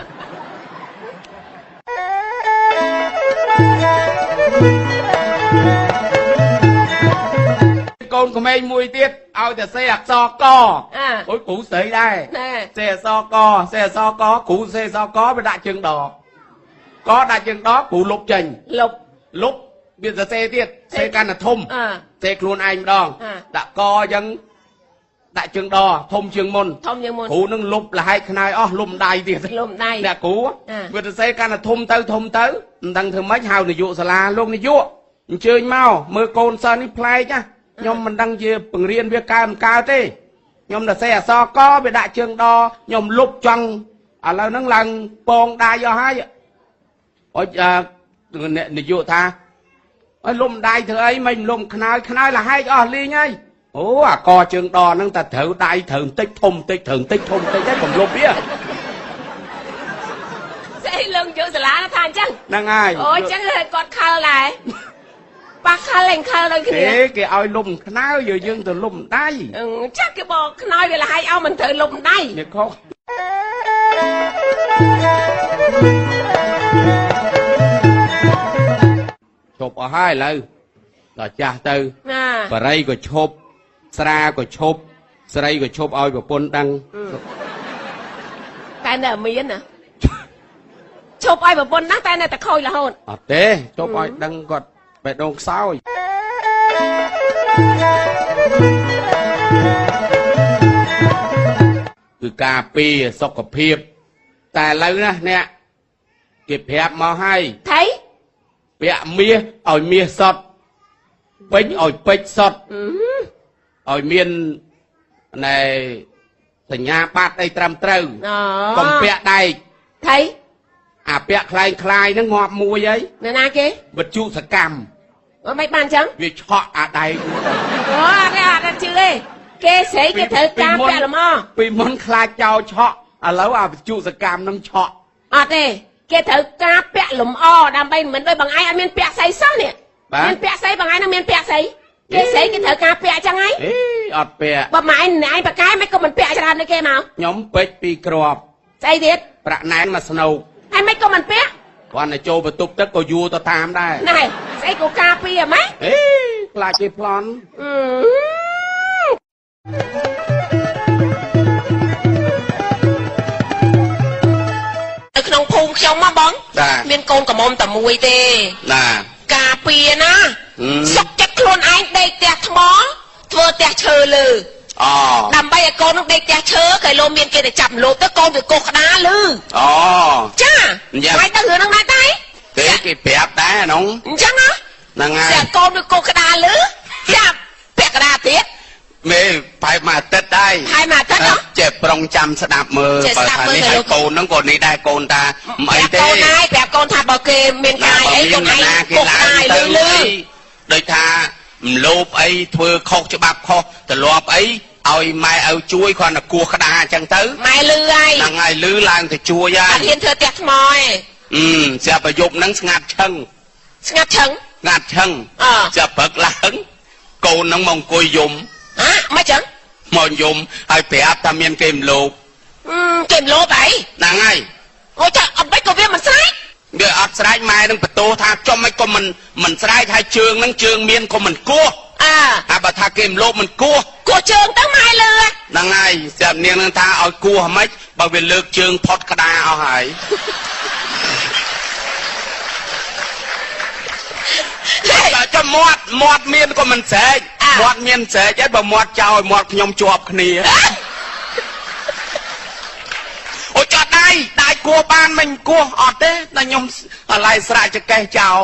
Speaker 1: កូនក្មេងមួយទៀតឲ្យតែសេអក្សរក
Speaker 2: អើ
Speaker 1: អូយគ្រូស្រីដែរ
Speaker 2: ណែ
Speaker 1: សេអក្សរកសេអក្សរកគ្រូសេអក្សរកវាដាក់ជើងដកកដាក់ជើងដកគ្រូលុបចេញ
Speaker 2: លុប
Speaker 1: លុបវាសរសេរទៀតសេកាន់តែធំ
Speaker 2: អើ
Speaker 1: សេខ្លួនឯងម្ដង
Speaker 2: អ่า
Speaker 1: ដាក់កអញ្ចឹងដាក់ជើងដកធំជាងមុន
Speaker 2: ធំជាងមុន
Speaker 1: គ្រូនឹងលុបលហែកខ្នើយអស់លុំដៃទៀត
Speaker 2: លុំដៃ
Speaker 1: អ្នកគ្រូ
Speaker 2: អ่า
Speaker 1: វាសរសេរកាន់តែធំទៅធំទៅមិនដឹងធ្វើម៉េចហៅនាយកសាលាលោកនាយកអញ្ជើញមកមើលកូនសិស្សនេះប្លែកណាស់ខ្ញុំមិនដឹងជាបង្រៀនវាកើមិនកើតទេខ្ញុំសរសេរអក្សរកវាដាក់ជើងដខ្ញុំលុបចង់ឥឡូវហ្នឹងឡើងពងដៃអស់ហើយអុចអ่าអ្នកនាយកថាអើយលុំដៃធ្វើអីមិនលុំខ្នើយខ្នើយលហែកអស់លីងហើយអូអាកជើងដហ្នឹងតែត្រូវដៃត្រូវបន្តិចធំបន្តិចត្រូវបន្តិចធំបន្តិចហើយកុំលុបវា
Speaker 2: ស្អីលោកយកសាលាថាអញ្ចឹង
Speaker 1: ហ្នឹងហើយ
Speaker 2: អូអញ្ចឹងហើយគាត់ខលដែរប៉ះខលឯងខលដូចគ្នា
Speaker 1: គេគេឲ្យលុំខ្នើយយើងទៅលុំដៃ
Speaker 2: អឺចាក់គេបោខ្នើយវាលហើយអស់មិនត្រូវលុំដៃ
Speaker 1: នេះខុសឈប់អស់ហើយឥឡូវដល់ចាស់ទៅ
Speaker 2: ណា
Speaker 1: បរិយក៏ឈប់ស្រាក៏ឈប់ស្រីក៏ឈប់ឲ្យប្រពន្ធដឹង
Speaker 2: តែនៅមានណា ឈប់ឲ្យប្រពន្ធណាស់តែនៅតែខូចរហូត
Speaker 1: អត់ទេឈប់ឲ្យដឹងគាត់បេះដូងខ្សោយគឺការពារសុខភាព តែឥឡូវណាអ្នកគេប្រាប់មកឲ្យ
Speaker 2: ថៃ
Speaker 1: ពាក់មាសឲ្យមាសសុតពេញឲ្យពេជ្រសុត
Speaker 2: អឺ
Speaker 1: ឲ្យមានណែសញ្ញាបត្រអីត្រឹមត្រូវ
Speaker 2: អូ
Speaker 1: កុំពាក់ដែក
Speaker 2: ថៃ
Speaker 1: អាពាក់คล้ายคล้ายហ្នឹងងាប់មួយហើយ
Speaker 2: នៅណាគេ
Speaker 1: វិទ្យុសកម្ម
Speaker 2: អូមិនបានអញ្ចឹង
Speaker 1: វាឆក់អាដែក
Speaker 2: អូអត់ទេអត់ទេជឿទេគេស្រីគេត្រូវការពាក់ល្មម
Speaker 1: ពីមុនខ្លាចចោលឆក់ឥឡូវអាវិទ្យុសកម្មហ្នឹងឆក់
Speaker 2: អត់ទេគេត្រូវការពាក់លម្អដើម្បីមិនដូចបងឯងអត់មានពាក់ស្អីសោះនេះ
Speaker 1: បាទ
Speaker 2: មានពាក់ស្អីបងឯងនឹងមានពាក់ស្អីគេស្រីគេត្រូវការពាក់អញ្ចឹងហី
Speaker 1: អេអត់ពាក់
Speaker 2: បើម៉ែឯងឯងប៉ាកែមិនក៏មិនពាក់ច្រើនដូចគេមក
Speaker 1: ខ្ញុំពេជ្រពីរគ្រាប់
Speaker 2: ស្អីទៀត
Speaker 1: ប្រាក់ណែនមកស្នូក
Speaker 2: ហើយមិនក៏មិនពាក់
Speaker 1: គ្រាន់តែចូលបន្ទប់ទឹកក៏យួរទៅតាមដែរ
Speaker 2: ណែស្អីក៏ការពារម៉េច
Speaker 1: អេខ្លាចគេប្លន់
Speaker 2: អឺ
Speaker 3: នៅក្នុងភូមិខ្ញុំមកបង
Speaker 1: បាទ
Speaker 3: មានកូនក្រមុំតែមួយទេ
Speaker 1: ណា
Speaker 3: ការពារណា
Speaker 1: អឺ
Speaker 3: សុកចិត្តខ្លួនឯងដេកផ្ទះថ្មធ្វើផ្ទះឈើលើ
Speaker 1: អ
Speaker 3: ដើម្បីឲ្យកូននឹងដេកផ្ទះឈើគេលោមានគេទៅចាប់លោបទៅកូនវាកុសក្តារលឺ
Speaker 1: អូ
Speaker 3: ចា
Speaker 1: អញ្ចឹង
Speaker 3: ហើយទៅរឿងហ្នឹងដែរតែ
Speaker 1: គេគេប្រាប់ដែរអានោះ
Speaker 3: អញ្ចឹងណា
Speaker 1: ហ្នឹងហើ
Speaker 3: ចា
Speaker 1: យ
Speaker 3: កូនវាកុសក្តារលឺចាប់ពាក់ក្តារទៀត
Speaker 1: មេបែបមួយអាទិត្យដែរ
Speaker 3: ហើយមកទឹកហ៎
Speaker 1: ចេះប្រុងចាំស្ដាប់មើល
Speaker 3: ចេះស្ដាប់មើល
Speaker 1: នេះ
Speaker 3: ទៅ
Speaker 1: ហើ
Speaker 3: លោក
Speaker 1: យកូនហ្នឹងក៏នេះដែរកូនតាមិនអី
Speaker 3: ប្រាប់កូ
Speaker 1: ទេ
Speaker 3: នឯងប្រាប់កូនថាបើគេមានកាយអីកូនឯងកុសក្តារឲ្យលឺលឺ
Speaker 1: ដូចថាមលោបអីធ្វើខុសច្បាប់ខុសទលាប់អីឲ្យម៉ែឪជួយគ្រាន់តែគោះក្តារអញ្ចឹងទៅ
Speaker 3: ម៉ែលឺហើយ
Speaker 1: ហ្នឹងហើយលឺឡើងទៅជួយហើ
Speaker 3: អ
Speaker 1: យ
Speaker 3: ត់ហ៊ានធ្វើផ្ទះថ្មឯង
Speaker 1: អឺស្រាប់ប្រយុបហ្នឹងស្ងាត់ឈឹង
Speaker 3: ស្ងាត់ឆឹង
Speaker 1: ស្ងាត់ឈឹង
Speaker 3: អើ
Speaker 1: ស្រាប់ព្រឹកឡើងកូនហ្នឹងមកអង្គុយយំ
Speaker 3: ហ៎មកចឹង
Speaker 1: មកយំហើយប្រាប់ថាមានគេមលោក
Speaker 3: អឺគេមលោបអី
Speaker 1: ហ្នឹងហើយ
Speaker 3: អូចាអត់បិចក៏វាមិនស្រេច
Speaker 1: វាអត់ស្រែកម៉ែនឹងបន្ទោសថាចំមិនក៏មិនមិនស្រែកហើយជើងហ្នឹងជើងមានក៏មិនគោះ
Speaker 3: អើ
Speaker 1: តែបើថាគេមលោកមិនគោះ
Speaker 3: គោះជើងទៅម៉ែលឺ
Speaker 1: ហ្នឹងហើយស្រាប់នាងនឹងថាឲ្យគោះហ្មិចបើវាលើកជើងផុតក្តារអស់ហើយ
Speaker 3: ហេ
Speaker 1: បើចំមាត់មាត់មានក៏មិនស្រែក
Speaker 3: អា
Speaker 1: មាត់មានស្រែកហើយបើមាត់ចោលឲ្យមាត់ខ្ញុំជាប់គ្នាអូចត់ដៃដៃគោះបានមិនគោះអត់ទេតែខ្ញុំអាឡៃស្រាច់ចកេះចោល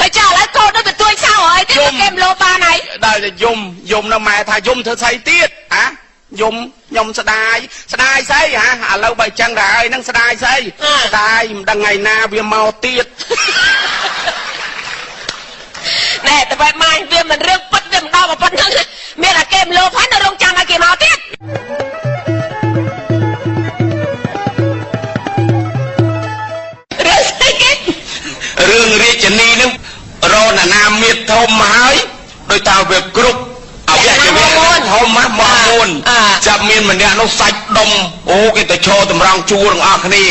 Speaker 3: ហើយចាឥឡូវកូនទៅទៅ
Speaker 2: ទួយចោលអីទៀត
Speaker 1: យំ
Speaker 2: គេមលោបបានហើយ
Speaker 1: ដល់តែយំយំដល់ម៉ែថាយំធ្វើស្អីទៀតហ៎យំខ្ញុំស្ដាយស្ដាយស្អីហ៎ឥឡូវបើចឹងដែរហើយនឹងស្ដាយស្អីស្ដាយមិនដឹងថ្ងៃណាវាមកទៀត
Speaker 2: ណែតែបែបម៉ាញវាមិនរឿងពិតវាមិនដល់មកប៉ុណ្្នឹងមានតែគេមលោហើយនៅរងចាំឲ្យគេមកទៀតរឿងស្អីគេ
Speaker 1: រឿងរាជនីនឹងរនណាមៀតធំមកហើយដោយតាវាគ្រប់អវយវៈធំមកមកមុនចាប់មានម្នាក់នោះសាច់ដុំអូគេទៅឈរតម្រង់ជួរទាំងអស់គ្នា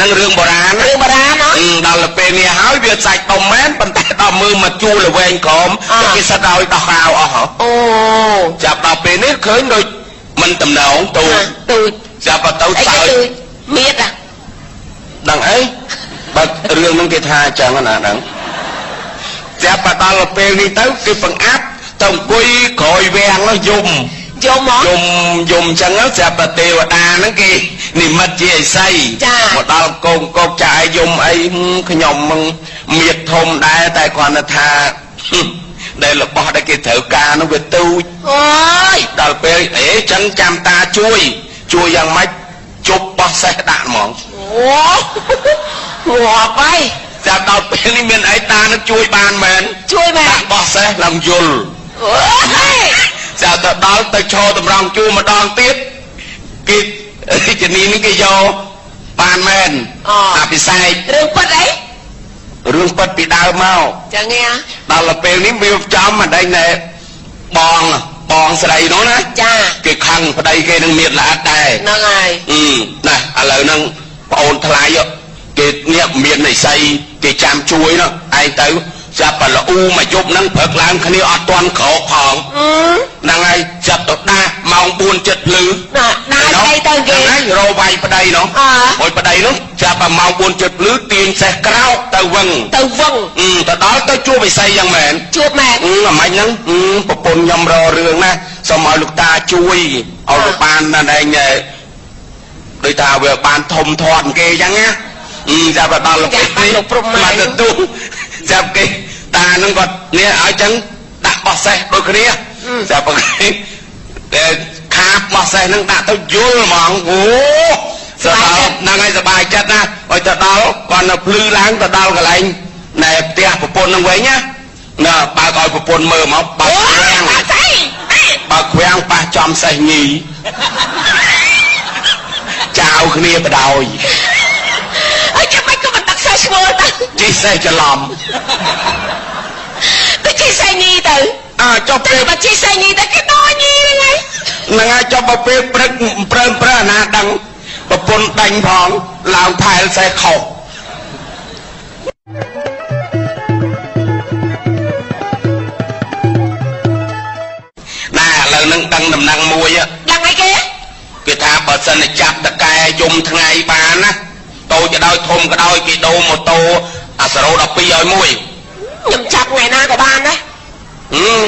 Speaker 1: នឹងរឿងបុរាណ
Speaker 2: រឿងបារាណអ
Speaker 1: អឺដល់ទៅពេលនេះហើយវាសាច់ដុំមែនប៉ុន្តែដល់មើលមកជួលល្វែងក្រម
Speaker 2: អ่า
Speaker 1: គេសិតឲ្យដោះអាវអស់ហ៎
Speaker 2: អូ
Speaker 1: ចាប់ដល់ពេលនេះឃើញដូចមិនតំណងទូច
Speaker 2: ទូច
Speaker 1: ចាប់ទៅ
Speaker 2: អីគេ
Speaker 1: សើច
Speaker 2: ទូចមានអា
Speaker 1: ដឹងអីបើរឿងហ្នឹងគេថាអញ្ចឹងណាដឹងចាប់មកដល់ពេលនេះទៅគេបង្អាប់ទៅអង្គុយក្រោយវាំងនោះយំ
Speaker 2: យំហ៎
Speaker 1: យំយំអញ្ចឹងទៅចាប់តែទេវតាហ្នឹងគេនិមិត្តជាឥសី
Speaker 2: ចា
Speaker 1: មកដល់កងកោកចាយយំអីហឹមខ្ញុំមិនមៀតធំដែរតែគ្រាន់តែថាហឹមដែលរបស់ដែលគេត្រូវការហ្នឹងវាទូច
Speaker 2: អូយ
Speaker 1: ដល់ពេលអេចឹងចាំតាជួយ ជួយយ៉ាងម៉េចជប់បោះសេះដាក់ហ្មង
Speaker 2: អូងាប់ហើយ
Speaker 1: ចាំដល់ពេលនេះមានអីតានឹងជួយបានមែន
Speaker 2: ជួយមែន
Speaker 1: ដាក់បោះសេះឡើងយល់
Speaker 2: អូយ
Speaker 1: ចាំទៅដល់ទៅឈរតម្រង់ជួរម្ដងទៀតគេរាជនីនេះគេយកបានមែនអភិសេក
Speaker 2: រឿងពិតអី
Speaker 1: រឿងពិតពីដើមមក
Speaker 2: ចឹងហ៎
Speaker 1: ដល់ដល់ពេលនេះវាចំអីណែបងបងស្រីនោះណា
Speaker 2: ចា
Speaker 1: គេខឹងប្តីគេនឹងមានល្អិតដែរ
Speaker 2: ហ្នឹងហើយ
Speaker 1: អឺណាស់ឥឡូវហ្នឹងប្អូនថ្លៃគេនេះមាននិស័យគេចាំជួយនោះឯងទៅចាប់បលអ៊ូមកយប់ហ្នឹងព្រឹកឡើងគ្នាអត់ទាន់ក្រោកផង
Speaker 2: អឺ
Speaker 1: ហ្នឹងហើយចាប់ទៅដាស់ម៉ោង4ចិត្តភ្លឺ
Speaker 2: ណាស់ណាស់ស្អីទៅគេ
Speaker 1: ហ្នឹងហើយរវាយប្តីនោះ
Speaker 2: អើ
Speaker 1: អុយប្តីនោះចាប់តែម៉ោង4ចិត្តភ្លឺទាញសេះក្រោកទៅវឹង
Speaker 2: ទៅវឹង
Speaker 1: អឺទៅដល់ទៅជួបវិស័យយ៉ាងមែន
Speaker 2: ជួបមែន
Speaker 1: អឺអាម៉េចហ្នឹងអឺប្រពន្ធខ្ញុំរករឿងណាស់សូមឲ្យលោកតាជួយឲ្យ
Speaker 2: អ่า
Speaker 1: លោកបានណែឯងឯងដូចថាវាបានធំធាត់គេអញ្ចឹងណាអឺចាប់ដល់លោក
Speaker 2: ចាំបានលោកព្រំ
Speaker 1: មក
Speaker 2: ម៉ែន
Speaker 1: ទទួលចាប់គេតាហ្នឹងគាត់នេះឲ្យចឹងដាក់បោះសេះដូចគ្នាចាប់បើគេតែខាបបោះសេះហ្នឹងដាក់ទៅយល់ហ្មងអូស
Speaker 2: សប្បាយ
Speaker 1: បាយ
Speaker 2: ចិត្ត
Speaker 1: ចិត្តហ្នឹងហើយសប្បាយចិត្តណាឲ្យទៅដល់គាត់នៅភ្លឺឡើងទៅដល់កន្លែងណែផ្ទះប្រពន្ធហ្នឹងវិញណាណាបើកឲ្យប្រពន្ធមើលមកបើក
Speaker 2: អូ
Speaker 1: ខ្វៀង
Speaker 2: អាស្អី
Speaker 1: បើកខ្វៀងប៉ះចំសេះញី ចៅគ្នាបដ ாய்
Speaker 2: អីចាំមិនក៏មិនដឹកសេះឈ្មោះទៅ
Speaker 1: ជីសេះច្រឡំ
Speaker 2: ទៅជីសេះញីទៅ
Speaker 1: អើចុះ
Speaker 2: តែ
Speaker 1: ពេល
Speaker 2: បើជីសេះញីទៅគេដោញីហ្នឹ
Speaker 1: ហ្នឹ
Speaker 2: ងហើយ
Speaker 1: ងហើយចុះបើពេលព្រឹកប្រើប្រើអាណាដឹងប្រពន្ធដេញផងឡើងផែលសេះខុស ណាឥឡូវហ្នឹងដឹងដំណឹងមួយហ៎
Speaker 2: ដឹងអីគេ
Speaker 1: គេថាបើសិនតែចាប់តកែយំថ្ងៃបានណាតូចក៏ដោយធំក៏ដោយគេដូរម៉ូតូអាសរោ12ឲ្យមួយ
Speaker 2: ខ្ញុំចាប់ថ្ងៃណាក៏បានដែរ
Speaker 1: ហឹម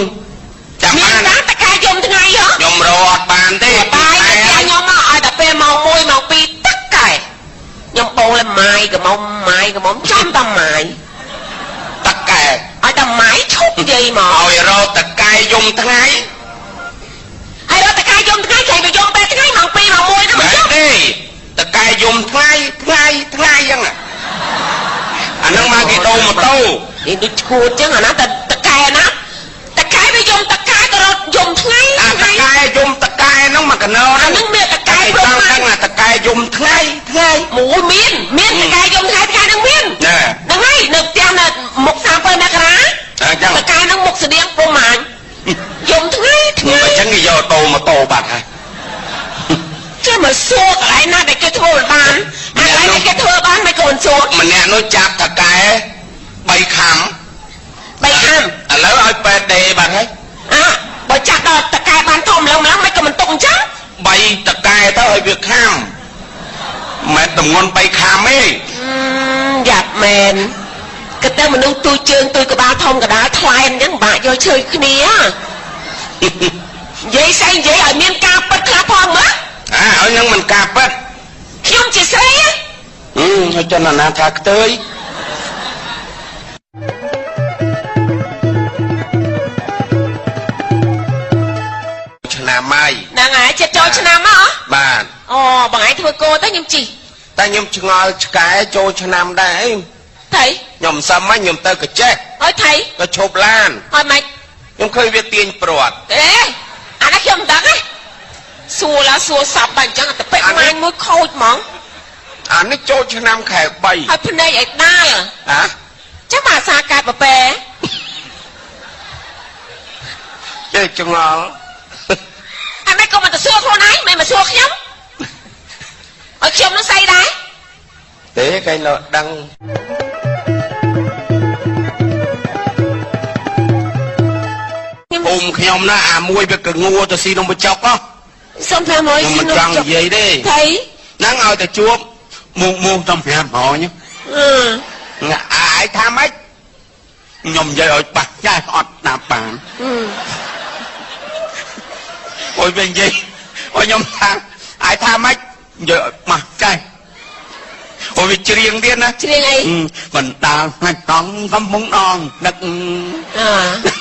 Speaker 1: ចាំ
Speaker 2: មា
Speaker 1: បាន ន
Speaker 2: តាតកាយយំថ្ងៃហ៎
Speaker 1: ខ្ញុំរកអត់បានទេ
Speaker 2: បាយតែខ្ញុំមកឲ្យតែពេលម៉ោង1ម៉ោង2ទឹកកែខ្ញុំបងលម៉ាយកំមុំម៉ាយកំមុំចាំតាម៉ាយ
Speaker 1: តកែ
Speaker 2: ឲ្យតាម៉ាយឈប់និយាយមក
Speaker 1: ឲ្យរកតកែយំថ្ងៃ
Speaker 2: ហើយរត់តកាយយំថ្ងៃចេញទៅយំពេលថ្ងៃម៉ោង2ម៉ោង1ទៅ
Speaker 1: មែ
Speaker 2: មក
Speaker 1: ន
Speaker 2: យំ
Speaker 1: ទេតកែយំថ្ងៃថ្ងៃថ្ងៃអញ្ចឹងអាអាហ្នឹងមកគេដូរម៉ូតូ
Speaker 2: នេះដូចឈួតចឹងអាណាតតកែណាតកែវាយំតកែទៅរត់យំថ្ងៃ
Speaker 1: អាតកែយំតកែហ្នឹងមកកណោ
Speaker 2: អា
Speaker 1: ហ្នឹង
Speaker 2: នឹងមានតកែ
Speaker 1: តែ
Speaker 2: ព្រ
Speaker 1: ច
Speaker 2: ម
Speaker 1: ង់
Speaker 2: ណា
Speaker 1: ដឹងថាតកែយំថ្ងៃថ្ងៃ
Speaker 2: មួយមានមានតកែយំថ្ងៃតកែនឹងមាន
Speaker 1: ណែ
Speaker 2: ហ្នឹងហើយនៅផ្ទះនៅមុខ37មករា
Speaker 1: អញ្ចឹង
Speaker 2: តកែនឹងមុខស្តៀងព្រមម៉ាញយំថ្ងៃ
Speaker 1: មើ
Speaker 2: ថ្ងៃ
Speaker 1: លអញ្ចឹងគេយកដូរម៉ូតូបាត់ហើយ
Speaker 2: ចេះមកសួរកន្លែងណាដែលគេធ្វើបានអាកន្លែងដែលគេធ្វើបានមិនខ្លួនសួរ
Speaker 1: ម្នាក់នោះចាប់តកែ3ខាំ
Speaker 2: បីខាំ
Speaker 1: ឥឡូវឲ្យប៉ែតដេបាត់ហើយ
Speaker 2: អ่ะបើចាក់ដល់តកែបានធំឡើងឡើងមិនក៏មិនຕົកអញ្ចឹង
Speaker 1: 3តកែទៅឲ្យវាខាំមិនតម្ងន់3ខាំទេ
Speaker 2: យ៉ាប់មែនគិតទៅមនុស្សទូចជើងទូចក្បាលធំកដាលថ្លែមអញ្ចឹងបាក់យកឈើគ្នានិយាយស្អីនិយាយឲ្យមានការពិតខ្លះផងមើល
Speaker 1: អើឲ្យនឹងមិនការប៉ិត
Speaker 2: ខ្ញុំជាស្រីហ៎
Speaker 1: ហឹមឲ្យចន្ទនាថាខ្ទើយ
Speaker 2: បងឯងធ្វើគោទៅខ្ញុំជី
Speaker 1: តែខ្ញុំឆ្ងល់ឆ្កែចូលឆ្នាំដែរអី
Speaker 2: ថៃ
Speaker 1: ខ្ញុំសឹមហ្មងខ្ញុំទៅកចេះ
Speaker 2: អើយថៃ
Speaker 1: ក៏ឈប់ឡាន
Speaker 2: អត់ម៉េច
Speaker 1: ខ្ញុំឃើញវាទាញព្រាត់
Speaker 2: អេអានេះខ្ញុំមិនដឹងទេសួរឡាសួរសាប់បាញ់អញ្ចឹងតែពេកម៉ាញមួយខូចហ្មង
Speaker 1: អានេះចូលឆ្នាំខែ
Speaker 2: ហើយភ្នែកឯដាល់
Speaker 1: 3ហ៎
Speaker 2: ចាំអាសាកាត់បបែ
Speaker 1: ចេះឆ្ងល់
Speaker 2: អានេះក៏មិនទៅសួរខ្លួនឯងមិនមកសួរខ្ញុំឲ្យខ្ញុំនឹងស្អីដែរ
Speaker 1: ទេកែងលោកដឹង
Speaker 2: ខ្ញុំ
Speaker 1: អ៊ំខ្ញុំណាអាមួយវាកងួរទៅស៊ីនំបញ្ចុកហ៎
Speaker 2: សុំតាមមួយ
Speaker 1: ខ្ញុំមិនចង់និយាយទេ
Speaker 2: ថៃ
Speaker 1: ហ្នឹងឲ្យតែជួបមុខមុខតំប្រាំហោញ
Speaker 2: អឺ
Speaker 1: អាឯងថាម៉េចខ្ញុំនិយាយឲ្យបាក់ចាស់អត់ដាប់បាន
Speaker 2: អឺ
Speaker 1: អុយវិញនិយាយអុយខ្ញុំថាអាយថាម៉េចនិយាយឲ្យម៉ាស់ចៃអូវាច្រៀងទៀតណា
Speaker 2: ច្រៀងអី
Speaker 1: មមិនដាល់ផ្នែកតង់កំពុងដងដឹក
Speaker 2: អឺ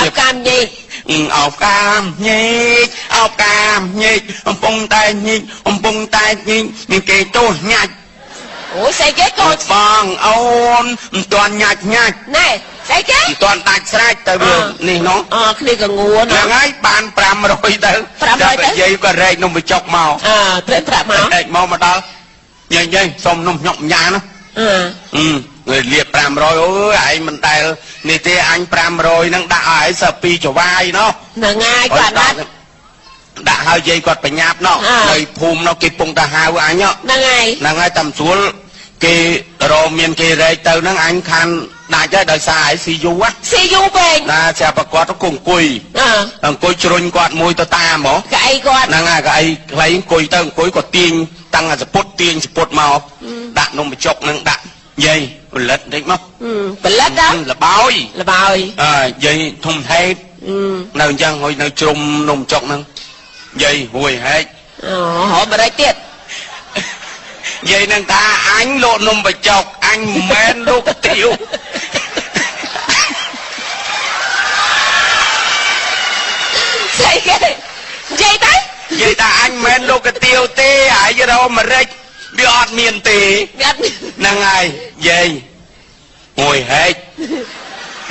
Speaker 2: អត់កម្មនិយាយ
Speaker 1: អឺអោបកាមញេកអោបកាមញេកកំពុងតែញេកកំពុងតែញេកមានគេទោសញាច់
Speaker 2: អូយស្អីគេកូន
Speaker 1: បងអូនមិនទាន់ញាច់ញាច់
Speaker 2: ណែស្អីគេ
Speaker 1: មិនទាន់ដាច់ស្រេចទៅវា
Speaker 2: អ่า
Speaker 1: នេះនោះ
Speaker 2: អើគ្នាក៏ងួន
Speaker 1: ហ្នឹងហើយបាន500ទៅ
Speaker 2: 500ទៅ
Speaker 1: ដល់និយាយក៏រែកនំបញ្ចុកមក
Speaker 2: អើត្រេកប្រាក់មក
Speaker 1: អែកមកមកដល់ញ៉ៃញ៉ៃសុំនំញុកញ៉ាណា
Speaker 2: អឺ
Speaker 1: អឺលើលៀប500អូយឯងមិនដែលនេះទេអញ500ហ្នឹងដាក់ឲ្យឯងសើពីរចវាយណោះ
Speaker 2: ហ្នឹងហើយគាត់ណាត់
Speaker 1: ដាក់ឲ្យយាយគាត់ប្រញាប់ណោះ
Speaker 2: អើ
Speaker 1: នៅភូមិនោះគេពងតាហៅអញ
Speaker 2: ហ្នឹងហើយ
Speaker 1: ហ្នឹងហើយតាមស្រួលគេរកមានគេរែកទៅហ្នឹងអញខានដាច់ហើយដោយសារឯងស៊ីយូហ៎
Speaker 2: ស៊ីយូពេក
Speaker 1: ណាចាប់ប្រកាសគង់អង្គុយ
Speaker 2: អើ
Speaker 1: អង្គុយជ្រុញគាត់មួយទៅតាមហ្មង
Speaker 2: កៅអីគាត់
Speaker 1: ហ្នឹងហើយកៅអីខ្លីអង្គុយទៅអង្គុយក៏ទាញតាំងអាសពុតទាញសពុតមកដាក់នំបញ្ចុកហ្នឹងដាក់យាយផលិតតិចមក
Speaker 2: ហឹមផលិតដល់
Speaker 1: លបោយ
Speaker 2: លបហើយ
Speaker 1: អើយាយធំហេត
Speaker 2: ហឹម
Speaker 1: នៅអញ្ចឹងហើយនៅជ្រុំនំបញ្ចុកហ្នឹងយាយហួយហេត
Speaker 2: អូហមរេចទៀត
Speaker 1: យាយហ្នឹងថាអញលោកនំបញ្ចុកអញមិនមែនលោកទៀវ
Speaker 2: ស្អីគេនិយាយទៅ
Speaker 1: យាយថាអញមិនមែនលោកទៀវទេហើយរកម្រេចវាអត់មានទេ
Speaker 2: វាអត់មាន
Speaker 1: ហ្នឹងហើយយាយមួយហែក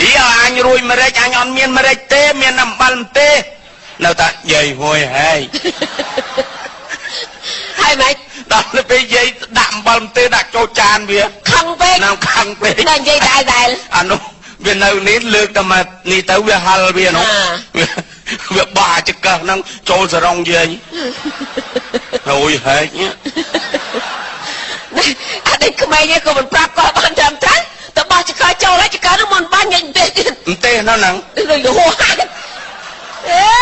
Speaker 1: អីអញរួយម្រេចអញអត់មានម្រេចទេ មានអំបិលទេ នៅតែយាយមួយហែក
Speaker 2: ហើយមិន
Speaker 1: ដល់ទៅពេលយាយដាក់អំបិលទេដាក់ចូលចានវា
Speaker 2: ខឹងពេក
Speaker 1: នៅខឹងពេក
Speaker 2: ដល់និយាយដែរដែរ
Speaker 1: អានោះវានៅនេះលើកតែមកនេះទៅវាហលវានោះ
Speaker 2: អ่า
Speaker 1: វាវាបោះអាចង្កឹះហ្នឹងចូលសរងយាយរួយហែកញ៉ា
Speaker 2: អានេះក្មេងនេះក៏មិនប្រាប់គាត់បានត្រឹមត្រូវតើបោះចង្កោចូលហើយចង្កោនោះមិនបាញ់ញ៉ាញ់ទេទៀត
Speaker 1: មិនទេនោះហ្នឹង
Speaker 2: rồi đồ hại ê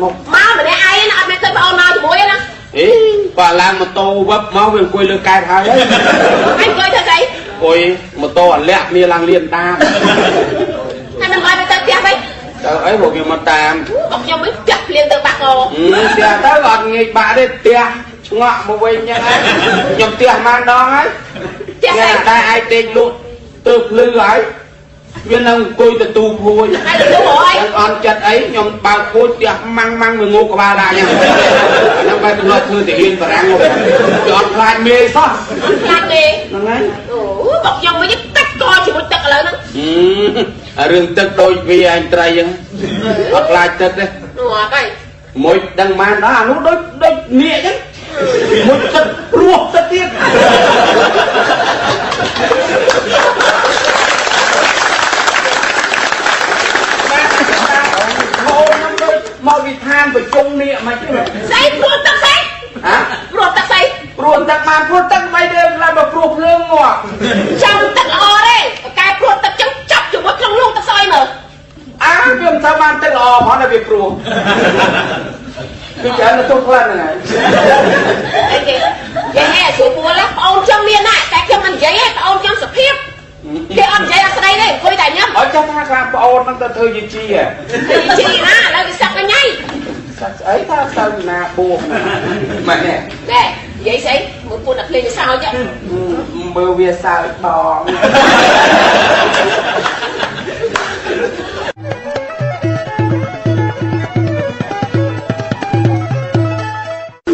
Speaker 4: máu mà để ai nó ăn mấy tên bao nào thì bố ấy nè
Speaker 5: អីបើឡើងម៉ូតូវឹបមកវាអង្គុយលើកែត ហើយ
Speaker 4: anh cười thật vậy
Speaker 5: អង្គុយម៉ូតូអាលាក់គ្នាឡើងលៀនតាម
Speaker 4: hay mình gọi mấy tên tiếp ấy
Speaker 5: ទៅអីមកវាមកតាម
Speaker 4: bọc nhau mới chặt liền từ bạc hồ
Speaker 5: អឺផ្ទះទៅអត់ងាយបាក់ទេផ្ទះឆ្ងក់មកវិញចឹងហើយខ្ញុំផ្ទះម៉ានដងហើយ
Speaker 4: ផ្ទះអី
Speaker 5: តែឯងទេលក់ទៅភ្លឺហើយវានៅអង្គុយទៅទូភួយ
Speaker 4: ai được đúng rồi
Speaker 5: អត់អន់ចិត្តអីខ្ញុំបើកពូជផ្ទះម៉ាំងម៉ាំងវាងូក្បាលដាក់ ខ្ញុំខ្ញុំបែរទៅធ្លាប់ធ្វើទាហានបារាំងមកវាអត់ខ្លាចមេសោះ
Speaker 4: làm gì
Speaker 5: ហ្នឹងហើយ
Speaker 4: Ủa, bọc nhau mới giúp cách coi chỉ một tật lớn lắm
Speaker 5: អឺអារឿងទឹកដូចវាឯងត្រីចឹងអត់ខ្លាចទឹកទេ
Speaker 4: đúng rồi coi
Speaker 5: មួយដឹងបានដល់អានោះដូចដូចនាគចឹងពីមួយទឹកព្រោះទៅទៀត មកវិធានប្រជុំនេះមិនទេ
Speaker 4: xây luôn tật xây
Speaker 5: ហ៎
Speaker 4: luôn tật xây
Speaker 5: ព្រោះទឹកបានព្រោះទឹកមិនទេឡើយមកព្រោះភ្លើងងាប់
Speaker 4: trong tật o đấy cái luôn tật trong chọc chỉ một trong luôn tật soi mà
Speaker 5: អើវាមិនទៅបានទឹកល្អផងតែវាព្រោះគឺចាំទៅខ្លាំងហ្នឹងហើយ
Speaker 4: Ê, kìa. vậy hè chủ búa lắm ông trong miên này cái kia mình giấy ấy ông trong sập hiếp kia ông giấy ở đây đấy coi đại nhá
Speaker 5: អត់ចាំថាខ្លាំងប្អូនហ្នឹងទៅធ្វើយីជីហ៎
Speaker 4: thì chị na là bị sập cái nhây
Speaker 5: សាច់ស្អីថាទៅណាបួសម៉ែនេះ
Speaker 4: nè vậy sấy
Speaker 2: មើលពួនតែភ្លេងសើចហ្នឹង
Speaker 6: មើលវាសើចបង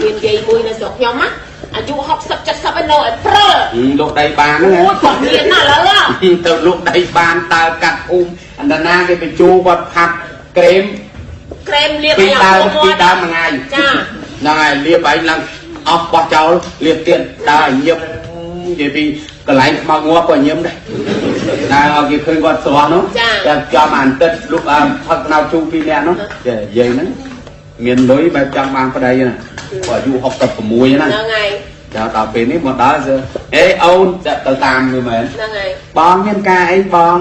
Speaker 2: មានយាយមួយនៅស្រុកខ្ញុំណាអាយុ60 70ឯនៅឯព្រើល
Speaker 5: លោកដៃបានហ្នឹង
Speaker 2: អូយគាត់ មានណាស់ឥឡូវហ៎
Speaker 5: ទៅលោកដៃបានតើកាត់អ៊ុំអន្តណាគេបញ្ជូរវត្តផាត់ក្រែម
Speaker 2: ក្រែមលាប
Speaker 5: ពីដើម
Speaker 2: ឲ្យ
Speaker 5: ពី
Speaker 2: ឲ្យ
Speaker 5: ដើមមួយថ្ងៃ
Speaker 2: ចា
Speaker 5: ហ្នឹងហើយលាបឯងឡើងអស់បោះចោលលាបទៀតដើរឲ្យញឹមនិយាយពីកន្លែងខ្មោចងាប់ក៏ញឹមដែរដើរឲ្យគេឃើញគាត់ស្រស់នោះ
Speaker 2: ចា
Speaker 5: តែចំអានទឹកលុបអាផឹកណៅជូរពីរនាក់នោះចេះនិយាយហ្នឹងមានលុយបែបចង់បានប្តីណាព្រោះអាយុ66ណា
Speaker 2: ហ្នឹងហើយ
Speaker 5: ដល់ដល់ពេលនេះមកដល់គឺអេអូនចាក់ទៅតាមវាមែន
Speaker 2: ហ្នឹងហើយ
Speaker 5: បងមានការអីបង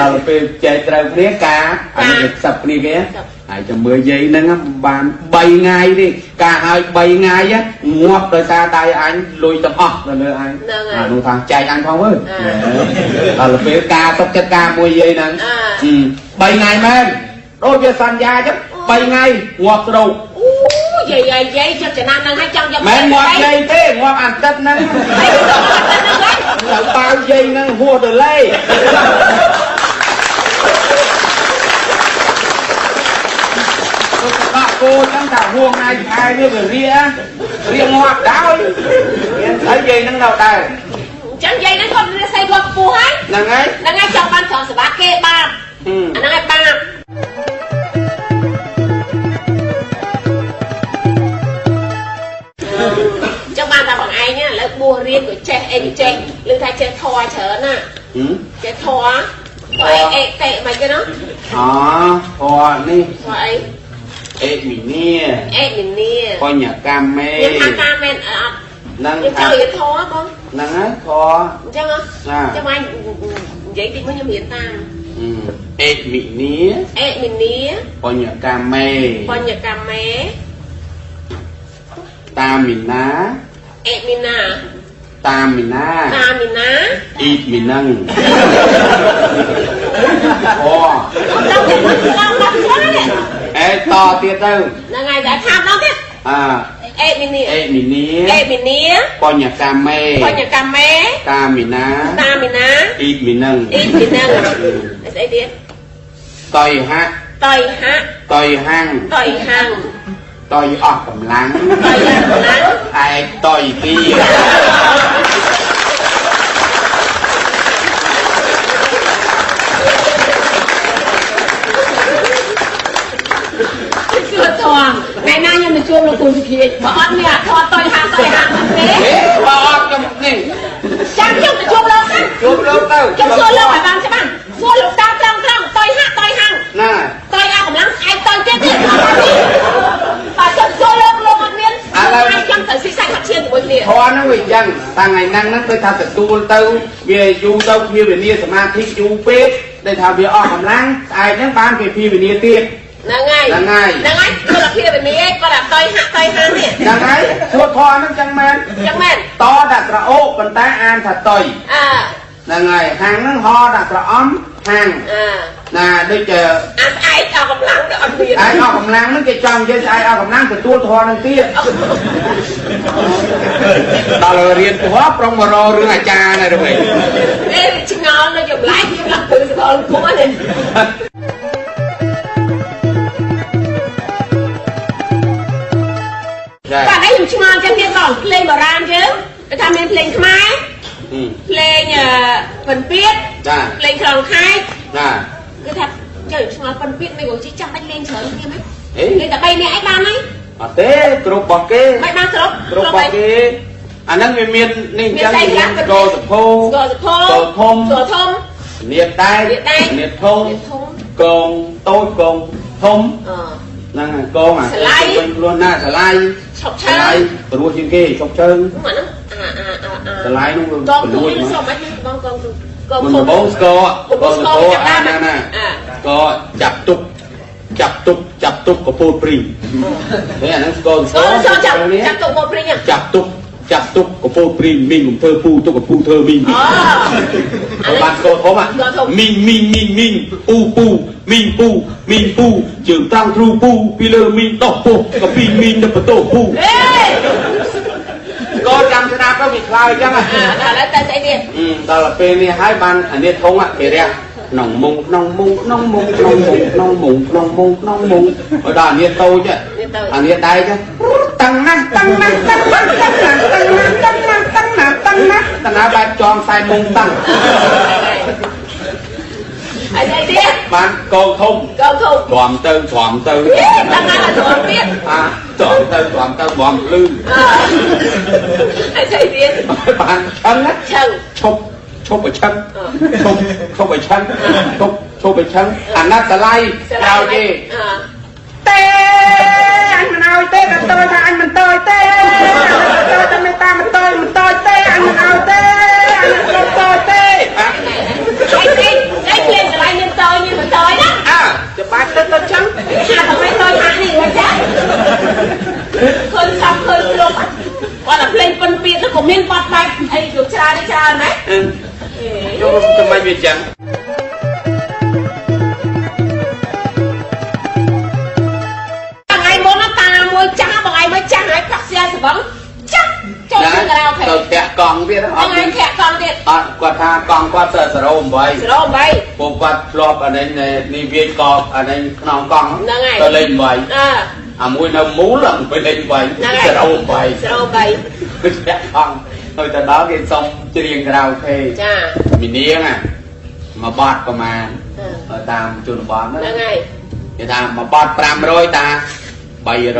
Speaker 5: ដល់ពេលចែកត្រូវគ្នាការ
Speaker 2: ចា៎
Speaker 5: អានេះសັບគ្នាគេ
Speaker 2: ចា៎
Speaker 5: ហើយចាំមើលយាយហ្នឹងណាបាន3ថ្ងៃទេការឲ្យ3ថ្ងៃណាងាប់ដោយសារដៃអញលុយទាំងអស់ទៅលើអញ
Speaker 2: ហ្នឹងហើយ
Speaker 5: អានោះថាចែកអញផងវើ
Speaker 2: អ่า
Speaker 5: ដល់ពេលការសុកចិត្តការមួយយាយហ្នឹង
Speaker 2: អ่า
Speaker 5: ហឹម3ថ្ងៃមែនដូចវាសន្យាចឹង3ថ្ងៃងាប់ស្រូវ
Speaker 2: អូយាយយាយយាយចិត្តចំណាំហ្នឹងហើយចង់យក
Speaker 5: មែនងាប់យាយទេងាប់អាទិត្យហ្នឹង
Speaker 2: ហើយទៅអត់ទៅហ្នឹងហើយ
Speaker 5: ទៅបាវយាយហ្នឹងហួសទៅលេ ទៅដាក់គោចឹងថាហួងណៃខែនេះវារៀរៀងាប់ដោយមានស្អីយាយហ្នឹងនៅដែរ
Speaker 2: អញ្ចឹងយាយហ្នឹងគាត់រៀនស្អីគាត់ខ្ពស់ហើយ
Speaker 5: ហ្នឹងហើយ
Speaker 2: ហ្នឹងហើយចង់បានចង់សបាគេបាន
Speaker 5: ហឹម
Speaker 2: អាហ្នឹងហើយបាន ចង់បានតែបងឯងណាឥឡូវបួសរៀនក៏ចេះអីក៏ចេះឮថាចេះធរច្រើនណា
Speaker 5: ហឹម
Speaker 2: ចេះធរអីអេតេមិនគេណា
Speaker 5: អូព្រោះនេះ
Speaker 2: ធរអី
Speaker 5: អេមីនី
Speaker 2: អេមីនី
Speaker 5: បញ្ញាកម្មមេ
Speaker 2: ខ្ញុំថាការមែនអត់
Speaker 5: ហ្នឹង
Speaker 2: ខ្ញុំច
Speaker 5: ថា
Speaker 2: ង់រៀនធរបង
Speaker 5: ហ្នឹងហើយព្រោះ
Speaker 2: អញ្ចឹងហ៎
Speaker 5: ណា
Speaker 2: ចាំឯងនិយាយតិចមកខ្ញុំរៀនតាម
Speaker 5: ហឹមអេមីនី
Speaker 2: អេមីនី
Speaker 5: បញ្ញាកម្មមេ
Speaker 2: បញ្ញាកាមេ
Speaker 5: តាមីណា
Speaker 2: អេមីណា
Speaker 5: តាមីណា
Speaker 2: តាមីណា
Speaker 5: អ៊ីតមីនឹងអូ
Speaker 2: ដល់ទៅដល់មកខ្លួន
Speaker 5: អេតទៀតទៅ
Speaker 2: ហ្នឹងហើយដល់ថាដល់ទៀត
Speaker 5: អា
Speaker 2: អេមីនី
Speaker 5: អេមីនី
Speaker 2: អេមីនី
Speaker 5: បញ្ញាកម្មមេ
Speaker 2: បញ្ញាកាមេ
Speaker 5: តាមីណា
Speaker 2: តាមីណា
Speaker 5: អ៊ីតមីនឹង
Speaker 2: អ៊ីតមីនឹង ស្អីទៀត
Speaker 5: តយហៈ
Speaker 2: តៃហៈ
Speaker 5: តយហាំង
Speaker 2: តៃហាំង
Speaker 5: តយអស់កម្លាំង
Speaker 2: តៃហាំងណា
Speaker 5: ឯកតយទី
Speaker 2: គឺធំថ្ងៃណាខ្ញុំទៅជួបលោកគ្រូសុភាជបើអត់មានអាធរតៃហាំងតៃហាំងហ្នឹងទេ
Speaker 5: ហេបើអត់ខ្ញុំនេះ
Speaker 2: ចាំខ្ញុំទៅជួបលោកហ្នឹង
Speaker 5: ជួបលោកទៅ
Speaker 2: ខ្ញុំសួរលោកឲ្យបានច្បាស់សួរលោកតាត្រង់ត្រង់តៃហាក់តៃហាំង
Speaker 5: ណា
Speaker 2: តៃអាកម្លាំងឯងតៃទៀតទៀតអត់ទេបើខ្ញុំសួរលោកលោកអត់មានខ្ញុំចង់ទៅស៊ីសាច់ហាត់ឈាមជាមួយគ្នា
Speaker 5: ធរហ្នឹងវាអញ្ចឹងតាំងថ្ងៃហ្នឹងហ្នឹងដូចថាទទួលទៅវាយូរទៅភាវនាសមាធិយូរពេកដូចថាវាអស់កម្លាំងស្អែកហ្នឹងបានគេភាវនាទៀត
Speaker 2: ហ្នឹងហើយហ្នឹងហើយគឺលោកគ្នាវិន័យឯងគាត់ថាតៃហាក់តៃហាំងនេះ
Speaker 5: ហ្នឹងហើយធួធរហ្នឹងអញ្ចឹងមែន
Speaker 2: ចឹងមែន
Speaker 5: តតែក្រអូបប៉ុន្តែអានថាតយ
Speaker 2: អើ
Speaker 5: ហ្នឹងហើយហាងហ្នឹងហោដាក់ប្រអំហាង
Speaker 2: អើ
Speaker 5: ណាដូចជា
Speaker 2: អាស្អែកដល់កម្លាំងដល់អត់មាន
Speaker 5: ឯងអស់កម្លាំងហ្នឹងគេចង់និយាយស្អែកអស់កម្លាំងទទួលធម៌ហ្នឹងទៀត ដល់រៀនធម៌ប្រុងមករករឿងអាចារ្យណាទៅវិញ
Speaker 2: ពេលឆ្ងល់នៅចម្លែកខ្ញុំឡើងព្រឹងស្គាល់ខ្លួនឯង
Speaker 5: ចា
Speaker 2: តែនេះខ្ញុំឆ្ងល់ចឹងទៀតដល់ភ្លេងបារាំយើងគេថាមានភ្លេងខ្មែរ
Speaker 5: ហ៊ឹម
Speaker 2: ភ្លេងអឺពិនពៀត
Speaker 5: ចា
Speaker 2: ភ្លេងខ្លងខែក
Speaker 5: ណា
Speaker 2: គឺថាចុះឆ្ងល់ពិនពៀតមិនក៏ជិះចាំបាច់លេងច្រើនគ្នាហ្មង
Speaker 5: អេ
Speaker 2: លេងតែ3នាក់ឯងបានហើយ
Speaker 5: អត់ទេគ្រប់របស់គេ
Speaker 2: មិនបានគ្រប់
Speaker 5: គ្រប់របស់គេអាហ្នឹងវាមាននេះអញ្ចឹងវាមានកោសភោ
Speaker 2: ស្គាល់សភោ
Speaker 5: កោធំ
Speaker 2: ស្គាល់ធំ
Speaker 5: នៀតដែ
Speaker 2: នាតដែក
Speaker 5: កនៀតធំ
Speaker 2: វាធំ
Speaker 5: កងតូចកងធំ
Speaker 2: អឺ
Speaker 5: ហ្នឹងហើយកងអា
Speaker 2: ស្លាយ
Speaker 5: វិញខ្លួនណាឆ្លៃ
Speaker 2: ឆប់ឆើយ
Speaker 5: ព្រោះជាងគេឈប់ជើង
Speaker 2: ហ្នឹងអាហ្នឹងអាអាអា
Speaker 5: ឆ្លៃនោះ
Speaker 2: កងទូ
Speaker 5: រួច
Speaker 2: នសុំអីបងកងទូនកង
Speaker 5: មកដំ
Speaker 2: ធំ
Speaker 5: បូងស្គរ
Speaker 2: បងបងស្គរ
Speaker 5: បងអាណាណា
Speaker 2: អា
Speaker 5: ស្គរចាប់ទុកចាប់ទុកចាប់ទុកកពូលព្រីហេអាហ្នឹងស្គរស្គ
Speaker 2: ក
Speaker 5: រ
Speaker 2: ងចូលចាំ
Speaker 5: ស្គរនេះ
Speaker 2: ចាំទៅបោកព្រិញហ្នឹង
Speaker 5: ចាប់ទុកចាប់ទុកកពូលព្រីមីងកំធ្វើពូទុកកពូធ្វើមីង
Speaker 2: អូ
Speaker 5: ទៅបានស្គរធំអា
Speaker 2: ស្គរធំ
Speaker 5: មីងមីងមីងមីងពូពូមីងពូមីងពូជើងត្រង់ទ្រូពូពីលើមីងដោះពោះកពីមីងដល់បន្ទោពូ
Speaker 2: អេ
Speaker 5: កូនចាំស្ដាប់ ណាក៏វាខ្លោចចឹងអ
Speaker 7: អ่ะ
Speaker 5: ่ะ
Speaker 7: ដល់ឥឡូវទៅស្អីទៀត
Speaker 5: អឺដល់ពេលនេះហើយបានអានេះធងអភិរក្សក្នុងមុងក្នុងមុងក្នុងមុងក្នុងមុងក្នុងមុងក្នុងមុងក្នុងមុងបើដល់អានេះតូចអានេះដែរចឹងតាំងណាស់តាំងណាស់តាំងណាស់តាំងណាស់តាំងណាស់តាំងណាស់តាំងណាស់តាំងណាស់តាណាបែបចងខ្សែមុងតាំង
Speaker 7: អីនេះទៀត
Speaker 5: បានកោធំ
Speaker 7: កោធំ
Speaker 5: ទ្រាំទៅទ្រាំទៅ
Speaker 7: ហេតាំងណាស់ដល់ទៀត
Speaker 5: អាទ្រាំទៅទ្រាំទៅទ្រាំលឺ
Speaker 7: អីទៀត
Speaker 5: បានឆឹងណា
Speaker 7: ឆឹង
Speaker 5: ឈប់ឈប់ប្រឆឹង
Speaker 7: អឺ
Speaker 5: ឈប់ឈប់ប្រឆឹងឈប់ឈប់ប្រឆឹងអាណត្តិឡៃក្រោយទេ
Speaker 7: À.
Speaker 2: ទេអញមិនឲ្យទេក៏តើថាអញមិនតើទេតើតែមេត្តាមិនតើមិនតើទេអញមិនឲ្យទេអញមិនតើទេ
Speaker 7: អីគេអីគេកន្លែងមានតយមានមិនតយណា
Speaker 2: អើច្បាស់ទៅទៅចឹង
Speaker 7: អាកុំឲ្យតយអានេះមិនចាឃើញសំឃើញគ្រប់គាត់តែភ្លេងពិនពៀតទៅក៏មានបាត់បែបអីយកច្រើនច្រើនណា
Speaker 5: យកទៅមិនវាចឹង
Speaker 7: ថ្ងៃមុនតាមួយចាស់បងឯងមកចាស់ហើយកាក់សៀសបងចាស់ចូលទៅក្រៅខេ
Speaker 5: ទៅតាក់កង់ទៀតអត់
Speaker 7: ថ្ងៃខាក់កង់ទៀត
Speaker 5: អត់គាត់ថាកង់គាត់ទៅសរោ8
Speaker 7: ស្រោបី
Speaker 5: ពួកគាត់ធ្លាប់អានេះនៃនេះវាយកបអានេះក្នុងកង់
Speaker 7: ហ្នឹងហើយ
Speaker 5: ទៅលេង8
Speaker 7: អើ
Speaker 5: អាមួយនៅមូលអាមួយលេង
Speaker 7: ហ្នឹង
Speaker 5: 8
Speaker 7: ហើយ
Speaker 5: សរោ
Speaker 7: ស្រោ
Speaker 5: 8
Speaker 7: បី
Speaker 5: ទៅតាក់កង់ហើយទៅដល់គេសុំច្រៀងក្រៅខេ
Speaker 7: ចា
Speaker 5: មីនាងអាមួយបាត់ប្រមាណ
Speaker 7: អឺ
Speaker 5: បើតាមជនបទ
Speaker 7: ហ្នឹង
Speaker 5: ណា
Speaker 7: ហើយ
Speaker 5: គេថាមួយបាត់500តា300បានហើយត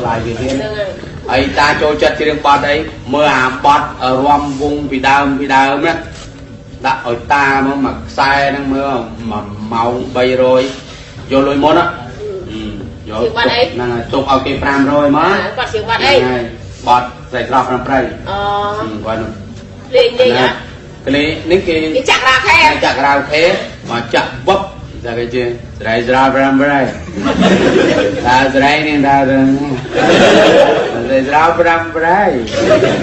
Speaker 5: ថ្លៃវាទៀត
Speaker 7: ហ្នឹងហើយ
Speaker 5: អីតាចូលចិត្តច្រៀងបាត់អីមើលអាបាត់រំវងពីដើមពីដើមណាដាក់ឲ្យតាមកមួយខ្សែហ្នឹងមើលមួយម៉ោង300យកលុយមុនណាយកហ្នឹងហើយទុកឲ្យគេ500មក
Speaker 7: គាត់ជាវត្តអី
Speaker 5: បាត់ស្រីស្រស់ក្នុងព្រៃ
Speaker 7: អ
Speaker 5: គាត់នោះ
Speaker 7: លេងលេង
Speaker 5: ណា
Speaker 7: ណា
Speaker 5: កលីនេះគេ
Speaker 7: គេចាក់រាខេ
Speaker 5: ចាក់ក្រៅខេមកចាក់បបចាក់គេស្រ័យស្រាប្រាំប្រៃតាស្រ័យនេះតារងស្រ័យស្រាប្រាំប្រៃ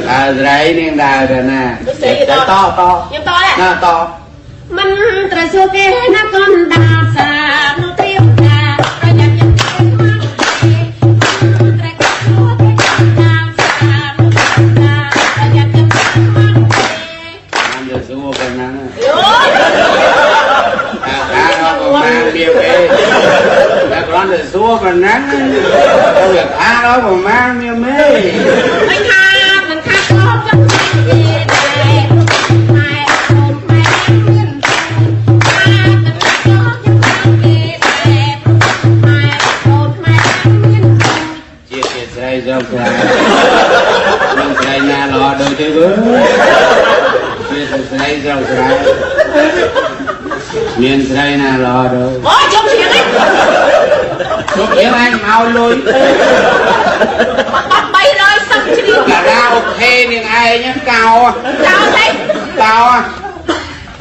Speaker 5: តាស្រ័យនេះតារណាតតត
Speaker 7: ខ្ញុំតដែរ
Speaker 5: ណាត
Speaker 7: មិនត្រូវសួរគេណាកូនដាសាមកព្រៀមថាប្រយ័ត្នយើងគេមកទេត្រូវគេសួរគេដាសាមកព្រៀមថាប្រយ័ត្នយើងគេមក
Speaker 5: តាមទៅសួរ
Speaker 7: ទេ
Speaker 5: ប៉ុណ្ណា
Speaker 7: យោ
Speaker 5: អាអាក៏មកពីវេតែគ្រាន់តែសួរប៉ុណ្ណាទៅអាដល់ប្រមាណមានមេ
Speaker 7: មិនថាមិនថាកូនចឹងទេដែរម៉ែអូនម៉ែមានតែថាមិនថាកូនចឹងទេដែរម៉ែអូនម៉ែមានតែ
Speaker 5: ជាជាស្រ័យស្រាប្រាំមិនស្រ័យណាល្អដូចទេវើ មានស្រីស្រស់ស្រាយមានស្រីណាល្អដល់
Speaker 7: Ôi, trong chuyện ấy
Speaker 5: លោកអៀងឯងមកលុយ
Speaker 7: Bắt bay rồi, xong chuyện đi
Speaker 5: ការាអូខេនាងឯងហ្នឹងកោ
Speaker 7: Sao đấy
Speaker 5: កោ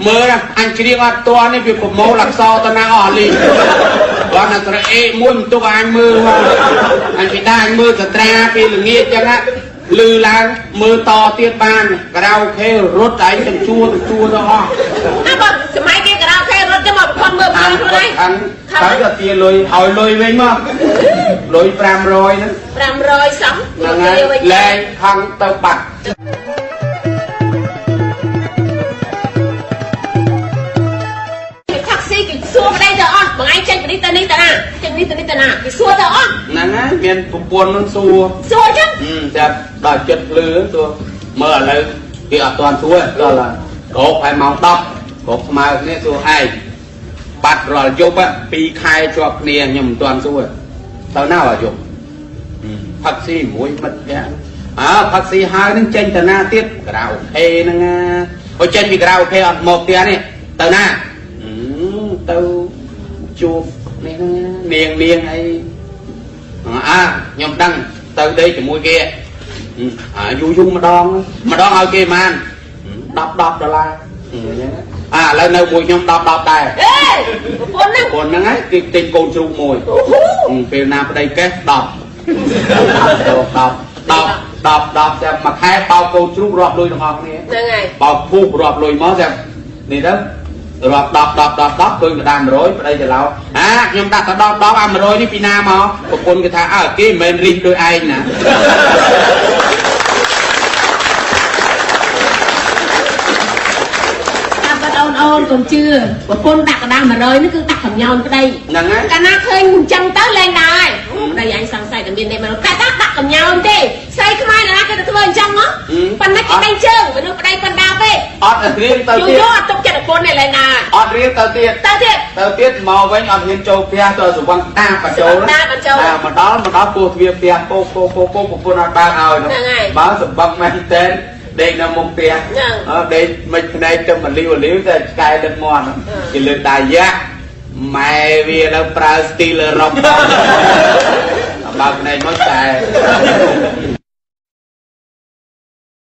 Speaker 5: មើលណាអញច្រៀងអត់តនេះវាប្រមូលអក្សរតណាអស់លីបានអត្រអេមួយមិនទុកអញមើលមកអញពីដាអញមើលសត្រាពេលល្ងាចចឹងណាលឺឡើងមើលតទៀតបានការ៉ាអូខេរត់ឯងទាំងជួរទាំងជួរទៅអស់
Speaker 7: À bà, sẽ máy kia cả đau khe rớt cho mà con mưa
Speaker 5: ខាង
Speaker 7: bằng luôn
Speaker 5: គាត់
Speaker 7: đấy
Speaker 5: ខាងខាងគាត់ទាលុយឲ្យលុយវិញមកលុយ500ហ្នឹង
Speaker 7: Làm rồi, sống
Speaker 5: ហ្នឹងហើយលែងខំទៅបាត់
Speaker 7: ทักซี่กินซัวมาได้เถอะอ่ะบางไอ้เจ็ดไปนี่ตะนี่ตะน่ะเจ็ดไปนี่ตะนี่ตะน่ะกินซัวเถอะอ่ะ
Speaker 5: ហ្នឹងហើយមានប្រពន្ធហ្នឹងសួរ
Speaker 7: ซัวจัง
Speaker 5: ហឹមចាប់ដល់ចិត្តភ្លឺសួរមើលឥឡូវគេអត់ទាន់សួរដល់ឡាក្រោកហើយម៉ោង10ក្រោកស្មើគ្នាសួរឯងបាត់រាល់យប់2ខែជាប់គ្នាខ្ញុំមិនទាន់សួរទៅណាអាយប់ផឹកស៊ីមួយមិត្តភក្តិអើផឹកស៊ីហើយនឹងចេញទៅណាទៀតក្រៅអេហ្នឹងណាបើចេញពីក្រៅអេអត់មកផ្ទះនេះទៅណាអឺទៅជួបនេះហ្នឹងណានាងនាងអីអើខ្ញុំដឹងទៅដេកជាមួយគេហឹមអាយូរយូរម្ដងម្ដងឲ្យគេប្រហែល10 10ដុល្លារអឺអញ្ចឹងណាអាឥឡូវនៅមួយខ្ញុំ10 10ដែរ
Speaker 7: เอ้ยคนนั่ง
Speaker 5: ប៉ុណ្្នឹងហើយគេទិញកូនជ្រូកមួយអឺពេលណាប្តីកេះ10 10 10 10 10តែមួយខែបោកកូនជ្រូករាប់លុយទាំងអស់គ្នា
Speaker 7: ยังไง
Speaker 5: បោកភូករាប់លុយមកតែនេះទៅរាប់10 10 10 10ឃើញកណ្ដាល100ប្តីច្រឡោកអាខ្ញុំដាក់ទៅ10 10អា100នេះពីណាមកប្រពន្ធគេថាអើគេមិនមែនរីសដូចឯងណា
Speaker 7: អូនកុំជឿប្រពន្ធដាក់កណ្ដាល100នេះគឺដាក់កំញោនប្តី
Speaker 5: ហ្នឹងហើយ
Speaker 7: កាលណាឃើញអញ្ចឹងទៅលែងដែរហើយប្តីអញសង្ស័យតែមាននេះមកតែតាដាក់កំញោនទេស្រីខ្មែរណាគេទៅធ្វើអញ្ចឹងហ៎
Speaker 5: ហឹម
Speaker 7: ប៉ុន្តែគេដេញជើងមនុស្សប្តីប៉ុណ្ណាទេ
Speaker 5: អត់រៀនទៅ
Speaker 7: យូរ
Speaker 5: ទៀត
Speaker 7: យូរអត់ទុកចិត្តប្រពន្ធនេះលែងណា
Speaker 5: អត់រៀនទៅទៀត
Speaker 7: ទៅទៀត
Speaker 5: ទៅទៀតមកវិញអត់ហ៊ានចូលផ្ទះទៅសុវណ្ណតាបញ្ចូល
Speaker 7: សុវណ្ណតាបញ្ចូល
Speaker 5: តែមកដល់មកដល់ពោះទ្វារផ្ទះពោះពោះពោះពោះប្រពន្ធអត់បើកឲ្យ
Speaker 7: ហ្នឹងហើយ
Speaker 5: បើសម្បឹកមែនតែនដេកនៅមុខផ្ទះ
Speaker 7: ហ្នឹង
Speaker 5: អឺដេកមិនភ្នែកទៅមលីវលីវតែឆ្កែដឹកមាត់ហ្នឹងគេលើកតាយ៉ាក់ម៉ែវានៅប្រើស្ទីលអឺរ៉ុបបើកភ្នែកមកតែ